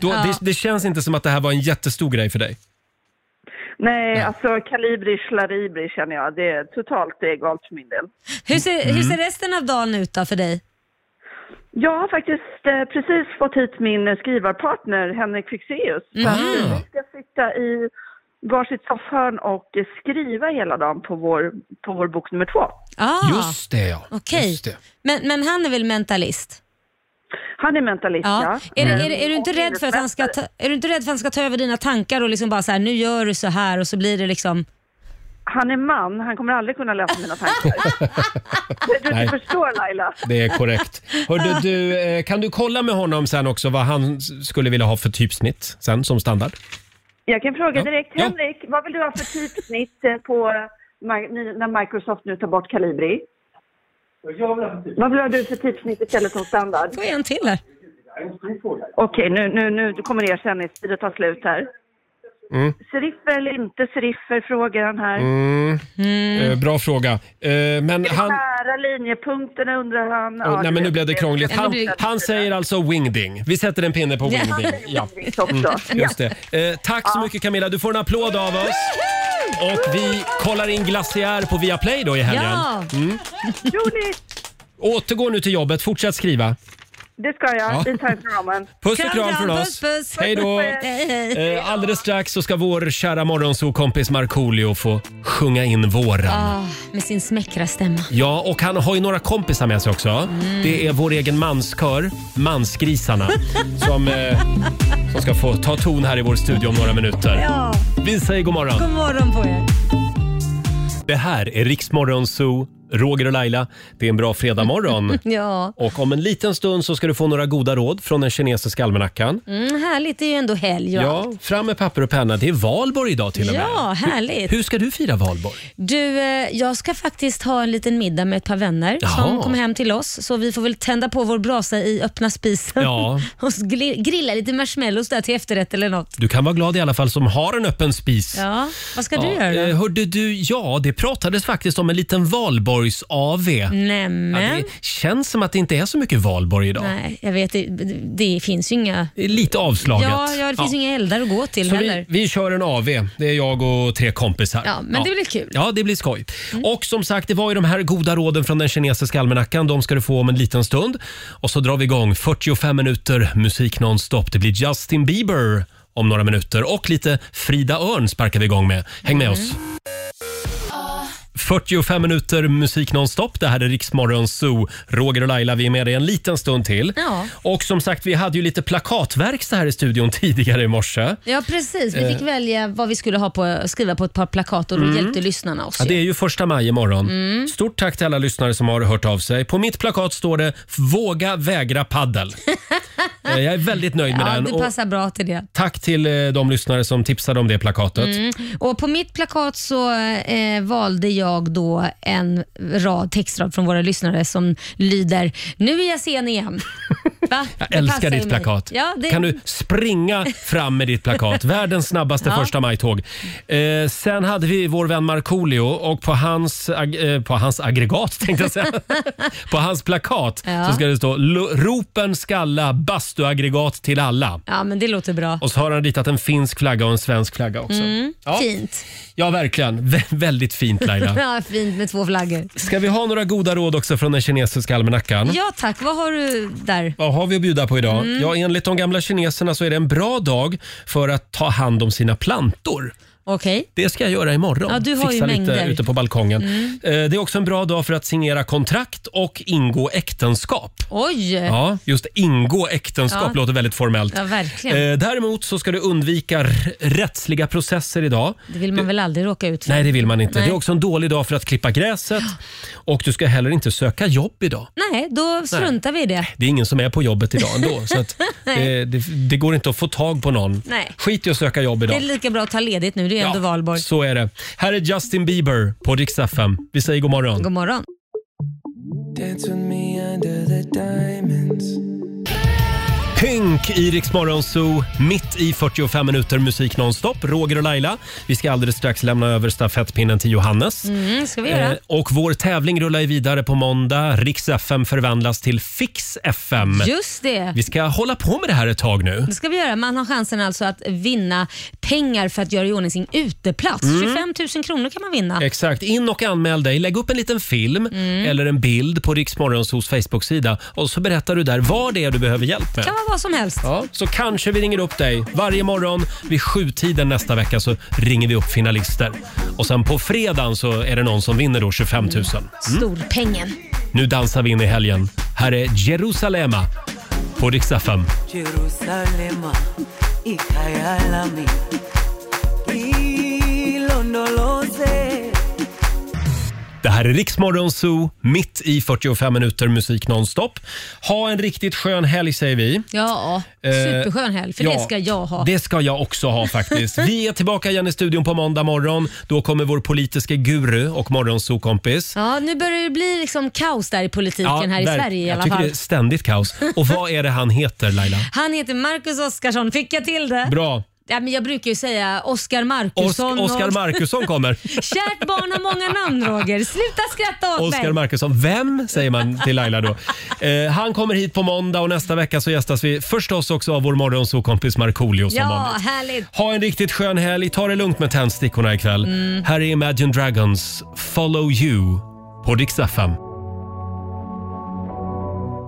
Speaker 1: då,
Speaker 11: Ja.
Speaker 1: det, det känns inte som att det här var en jättestor grej för dig.
Speaker 11: Nej, alltså kalibri, slaribri känner jag. Det är totalt egalt för min del.
Speaker 2: Hur ser, hur ser
Speaker 11: Mm.
Speaker 2: resten av dagen ut då för dig?
Speaker 11: Jag har faktiskt eh, precis fått hit min eh, skrivarpartner Henrik Fixeus. Så att eh,
Speaker 1: Mhm.
Speaker 11: vi ska sitta i varsitt soffhörn och eh, skriva hela dagen på vår, på vår bok nummer två.
Speaker 2: Ah,
Speaker 1: det ja.
Speaker 2: Okej, men, men han är väl mentalist?
Speaker 11: Han är mentalist, ja.
Speaker 2: Är,
Speaker 11: Mm.
Speaker 2: det, är, det- är, du inte
Speaker 11: Och
Speaker 2: rädd för att han ska ta, är du inte rädd för att han ska ta över dina tankar och liksom bara så här, nu gör du så här och så blir det liksom...
Speaker 11: Han är man, han kommer aldrig kunna läsa mina tankar. du
Speaker 1: Nej.
Speaker 11: inte förstår Laila.
Speaker 1: Det är korrekt. Hörde, du, eh, kan du kolla med honom sen också vad han s- skulle vilja ha för typsnitt sen som standard?
Speaker 11: Jag kan fråga direkt.
Speaker 1: Ja.
Speaker 11: Henrik, vad vill du ha för typsnitt eh, på eh, Mi- ny- när Microsoft nu tar bort Calibri? Vad vill ha du för typsnitt istället som standard?
Speaker 2: Får jag en till här?
Speaker 11: Okej, nu, nu, nu kommer ersättningstid att ta slut här.
Speaker 1: Mm.
Speaker 11: Seriffer eller inte seriffer, frågar han här.
Speaker 1: Mm. Eh, bra fråga. Eh, men
Speaker 11: Är det
Speaker 1: han...
Speaker 11: nära linjepunkterna undrar han.
Speaker 1: Åh,
Speaker 11: Ja,
Speaker 1: nej
Speaker 11: du
Speaker 1: men nu
Speaker 11: vet,
Speaker 1: blev det krångligt.
Speaker 11: Ja, men
Speaker 1: Han,
Speaker 11: du-
Speaker 1: han säger alltså wingding. Vi sätter en pinne på
Speaker 11: Ja,
Speaker 1: wingding.
Speaker 11: han säger wingdings också. Ja.
Speaker 1: Just det. Eh, tack så mycket Camilla. Du får en applåd av oss. Och vi kollar in Glaciär på Viaplay då i helgen.
Speaker 11: Ja.
Speaker 1: Mm.
Speaker 11: Roligt!
Speaker 1: Återgå nu till jobbet. Fortsätt skriva.
Speaker 11: Det ska jag,
Speaker 1: Ja.
Speaker 11: i timeframen.
Speaker 1: Puss och kram från oss. Hej då! Eh, alldeles strax så ska vår kära morgonsokompis Markoolio få sjunga in våren.
Speaker 2: Ah, med sin smäckra stämma.
Speaker 1: Ja, och han har ju några kompisar med sig också.
Speaker 2: Mm.
Speaker 1: Det är vår egen manskör, Mansgrisarna, som, eh, som ska få ta ton här i vår studio om några minuter.
Speaker 2: Ja.
Speaker 1: Vi säger god morgon.
Speaker 2: God morgon på er.
Speaker 1: Det här är Riksmorgon Zoo, Roger och Laila. Det är en bra fredagmorgon.
Speaker 2: Ja.
Speaker 1: Och om en liten stund så ska du få några goda råd från den kinesiska almanackan.
Speaker 2: Mm, härligt, det är ju ändå helg och allt.
Speaker 1: Ja, fram med papper och penna. Det är valborg idag till och med.
Speaker 2: Ja, härligt.
Speaker 1: Hur, hur ska du fira valborg?
Speaker 2: Du, eh, jag ska faktiskt ha en liten middag med ett par vänner som
Speaker 1: Jaha.
Speaker 2: kommer hem till oss. Så vi får väl tända på vår brasa i öppna spisen
Speaker 1: Ja.
Speaker 2: och gri- grilla lite marshmallows där till efterrätt eller något.
Speaker 1: Du kan vara glad i alla fall som har en öppen spis.
Speaker 2: Ja, vad ska du
Speaker 1: Ja,
Speaker 2: göra då?
Speaker 1: eh, Hörde du, ja det pratades faktiskt om en liten valborgs av ja,
Speaker 2: Nämen.
Speaker 1: Det känns som att det inte är så mycket valborg idag.
Speaker 2: Nej, jag vet det, det finns ju inga...
Speaker 1: Det är Lite avslaget.
Speaker 2: Ja, ja, det finns ju inga eldar att gå till
Speaker 1: så
Speaker 2: heller.
Speaker 1: vi, vi kör en AV. Det är jag och tre kompisar.
Speaker 2: Ja, men det blir kul.
Speaker 1: Ja, det blir skoj. Och som sagt, det var ju de här goda råden från den kinesiska almanackan. De ska du få om en liten stund. Och så drar vi igång 45 minuter musik nonstop. Det blir Justin Bieber om några minuter och lite Frida Örn sparkar vi igång med. Häng med oss. 45 minuter musik nonstop. Det här är Riksmorgon Zoo. Roger och Laila, vi är med dig en liten stund till.
Speaker 2: Ja.
Speaker 1: Och som sagt, vi hade ju lite plakatverkstad här i studion tidigare i morse.
Speaker 2: Ja precis, vi fick
Speaker 1: Eh.
Speaker 2: välja vad vi skulle ha på, skriva på ett par plakat och då
Speaker 1: Mm.
Speaker 2: hjälpte lyssnarna oss.
Speaker 1: Ja, det
Speaker 2: ju.
Speaker 1: är ju första maj imorgon.
Speaker 2: Mm.
Speaker 1: Stort tack till alla lyssnare som har hört av sig. På mitt plakat står det “Våga vägra paddel. Eh, Jag är väldigt nöjd med
Speaker 2: ja,
Speaker 1: den.
Speaker 2: det
Speaker 1: Och
Speaker 2: passar bra till det.
Speaker 1: tack till eh, de lyssnare som tipsade om det plakatet.
Speaker 2: Mm. Och på mitt plakat så eh, valde jag då en rad textrad från våra lyssnare som lyder “Nu är jag sen igen”. Va?
Speaker 1: Jag
Speaker 2: Det passar
Speaker 1: älskar
Speaker 2: ju
Speaker 1: ditt
Speaker 2: mig.
Speaker 1: plakat.
Speaker 2: Ja, det...
Speaker 1: Kan du springa fram med ditt plakat? Världens snabbaste
Speaker 2: Ja.
Speaker 1: första maj-tåg. Eh, sen hade vi vår vän Markoolio och på hans, ag- eh, på hans aggregat tänkte jag säga. på hans plakat
Speaker 2: Ja.
Speaker 1: så ska det stå "Lo- “Ropen skalla bastuaggregat till alla”.
Speaker 2: ja, men det låter bra.
Speaker 1: Och så har han ritat en finsk flagga och en svensk flagga också.
Speaker 2: Mm.
Speaker 1: Ja.
Speaker 2: Fint.
Speaker 1: Ja, verkligen. Vä- väldigt fint Laila.
Speaker 2: ja, fint med två flaggor.
Speaker 1: Ska vi ha några goda råd också från den kinesiska almanackan?
Speaker 2: Ja tack, vad har du där?
Speaker 1: Vad har vi att bjuda på idag?
Speaker 2: Mm.
Speaker 1: Ja, enligt de gamla kineserna så är det en bra dag för att ta hand om sina plantor.
Speaker 2: Okej.
Speaker 1: Det ska jag göra imorgon.
Speaker 2: Ja, du har ju
Speaker 1: Fixa lite
Speaker 2: mängder.
Speaker 1: ute på balkongen.
Speaker 2: Mm.
Speaker 1: Eh, Det är också en bra dag för att signera kontrakt och ingå äktenskap.
Speaker 2: Oj!
Speaker 1: Ja, just ingå äktenskap
Speaker 2: Ja.
Speaker 1: låter väldigt formellt.
Speaker 2: Ja, verkligen.
Speaker 1: Eh, Däremot så ska du undvika r- rättsliga processer idag.
Speaker 2: Det vill man väl aldrig råka ut för?
Speaker 1: eh, Nej, det vill man inte.
Speaker 2: Nej.
Speaker 1: Det är också en dålig dag för att klippa gräset och du ska heller inte söka jobb idag.
Speaker 2: Nej, då struntar vi i det.
Speaker 1: Det är ingen som är på jobbet idag ändå. Så att eh,
Speaker 2: Nej.
Speaker 1: det, det, det går inte att få tag på någon.
Speaker 2: Nej.
Speaker 1: Skit i att söka jobb
Speaker 2: Det
Speaker 1: idag.
Speaker 2: är lika bra att ta ledigt nu, det är ändå valborg.
Speaker 1: Så är det. Här är Justin Bieber på Rix FM. Vi säger god morgon.
Speaker 2: God morgon.
Speaker 1: Pink i Rix Morgon Zoo, mitt i 45 minuter musik nonstop. Roger och Laila, vi ska alldeles strax lämna över stafettpinnen till Johannes.
Speaker 2: Mm, ska vi göra?
Speaker 1: Eh, och vår tävling rullar ju vidare på måndag. Rix FM förvandlas till Fix FM.
Speaker 2: Just det.
Speaker 1: Vi ska hålla på med det här ett tag nu.
Speaker 2: Det ska vi göra. Man har chansen alltså att vinna pengar för att göra i ordning sin uteplats.
Speaker 1: Mm.
Speaker 2: 25 000 kronor kan man vinna.
Speaker 1: Exakt. In och anmäl dig. Lägg upp en liten film
Speaker 2: Mm.
Speaker 1: eller en bild på Rix Morgonzoos Facebook-sida och så berättar du där vad det är du behöver hjälp med.
Speaker 2: kan vara vad som helst.
Speaker 1: Ja, så kanske vi ringer upp dig varje morgon vid sjutiden nästa vecka så ringer vi upp finalister. Och sen på fredagen så är det någon som vinner då 25 000. Mm.
Speaker 2: Storpengen.
Speaker 1: Nu dansar vi in i helgen. Här är Jerusalema på riksdag 5.
Speaker 19: Jerusalema ikhaya lami ilondoloze
Speaker 1: Det här är Riksmorgon Zoo, mitt i 45 minuter musik nonstop. Ha en riktigt skön helg säger vi.
Speaker 2: Ja,
Speaker 1: Eh,
Speaker 2: superskön helg. För
Speaker 1: ja,
Speaker 2: det ska jag ha.
Speaker 1: Det ska jag också ha faktiskt. Vi är tillbaka igen i studion på måndag morgon. Då kommer vår politiska guru och morgonsokompis.
Speaker 2: Ja, nu börjar det bli liksom kaos där i politiken här i
Speaker 1: där-
Speaker 2: Sverige i
Speaker 1: jag
Speaker 2: alla
Speaker 1: tycker
Speaker 2: fall.
Speaker 1: det är ständigt kaos. Och vad är det han heter Laila?
Speaker 2: Han heter Marcus Oskarsson. Fick jag till det?
Speaker 1: Bra.
Speaker 2: Ja, men jag brukar ju säga Oskar
Speaker 1: Os-
Speaker 2: Markusson.
Speaker 1: Oskar
Speaker 2: och-
Speaker 1: Markusson kommer.
Speaker 2: Kärt barn har många namn Roger. Sluta skratta åt
Speaker 1: Oskar
Speaker 2: mig.
Speaker 1: Markusson. Vem? säger man till Laila då. Eh, han kommer hit på måndag och nästa vecka så gästas vi förstås också av vår morgonsokompis Markoolio som vanligt.
Speaker 2: ja, härligt.
Speaker 1: Ha en riktigt skön helg. Ta det lugnt med tändstickorna ikväll.
Speaker 2: Mm.
Speaker 1: Här är Imagine Dragons Follow You på Dix FM.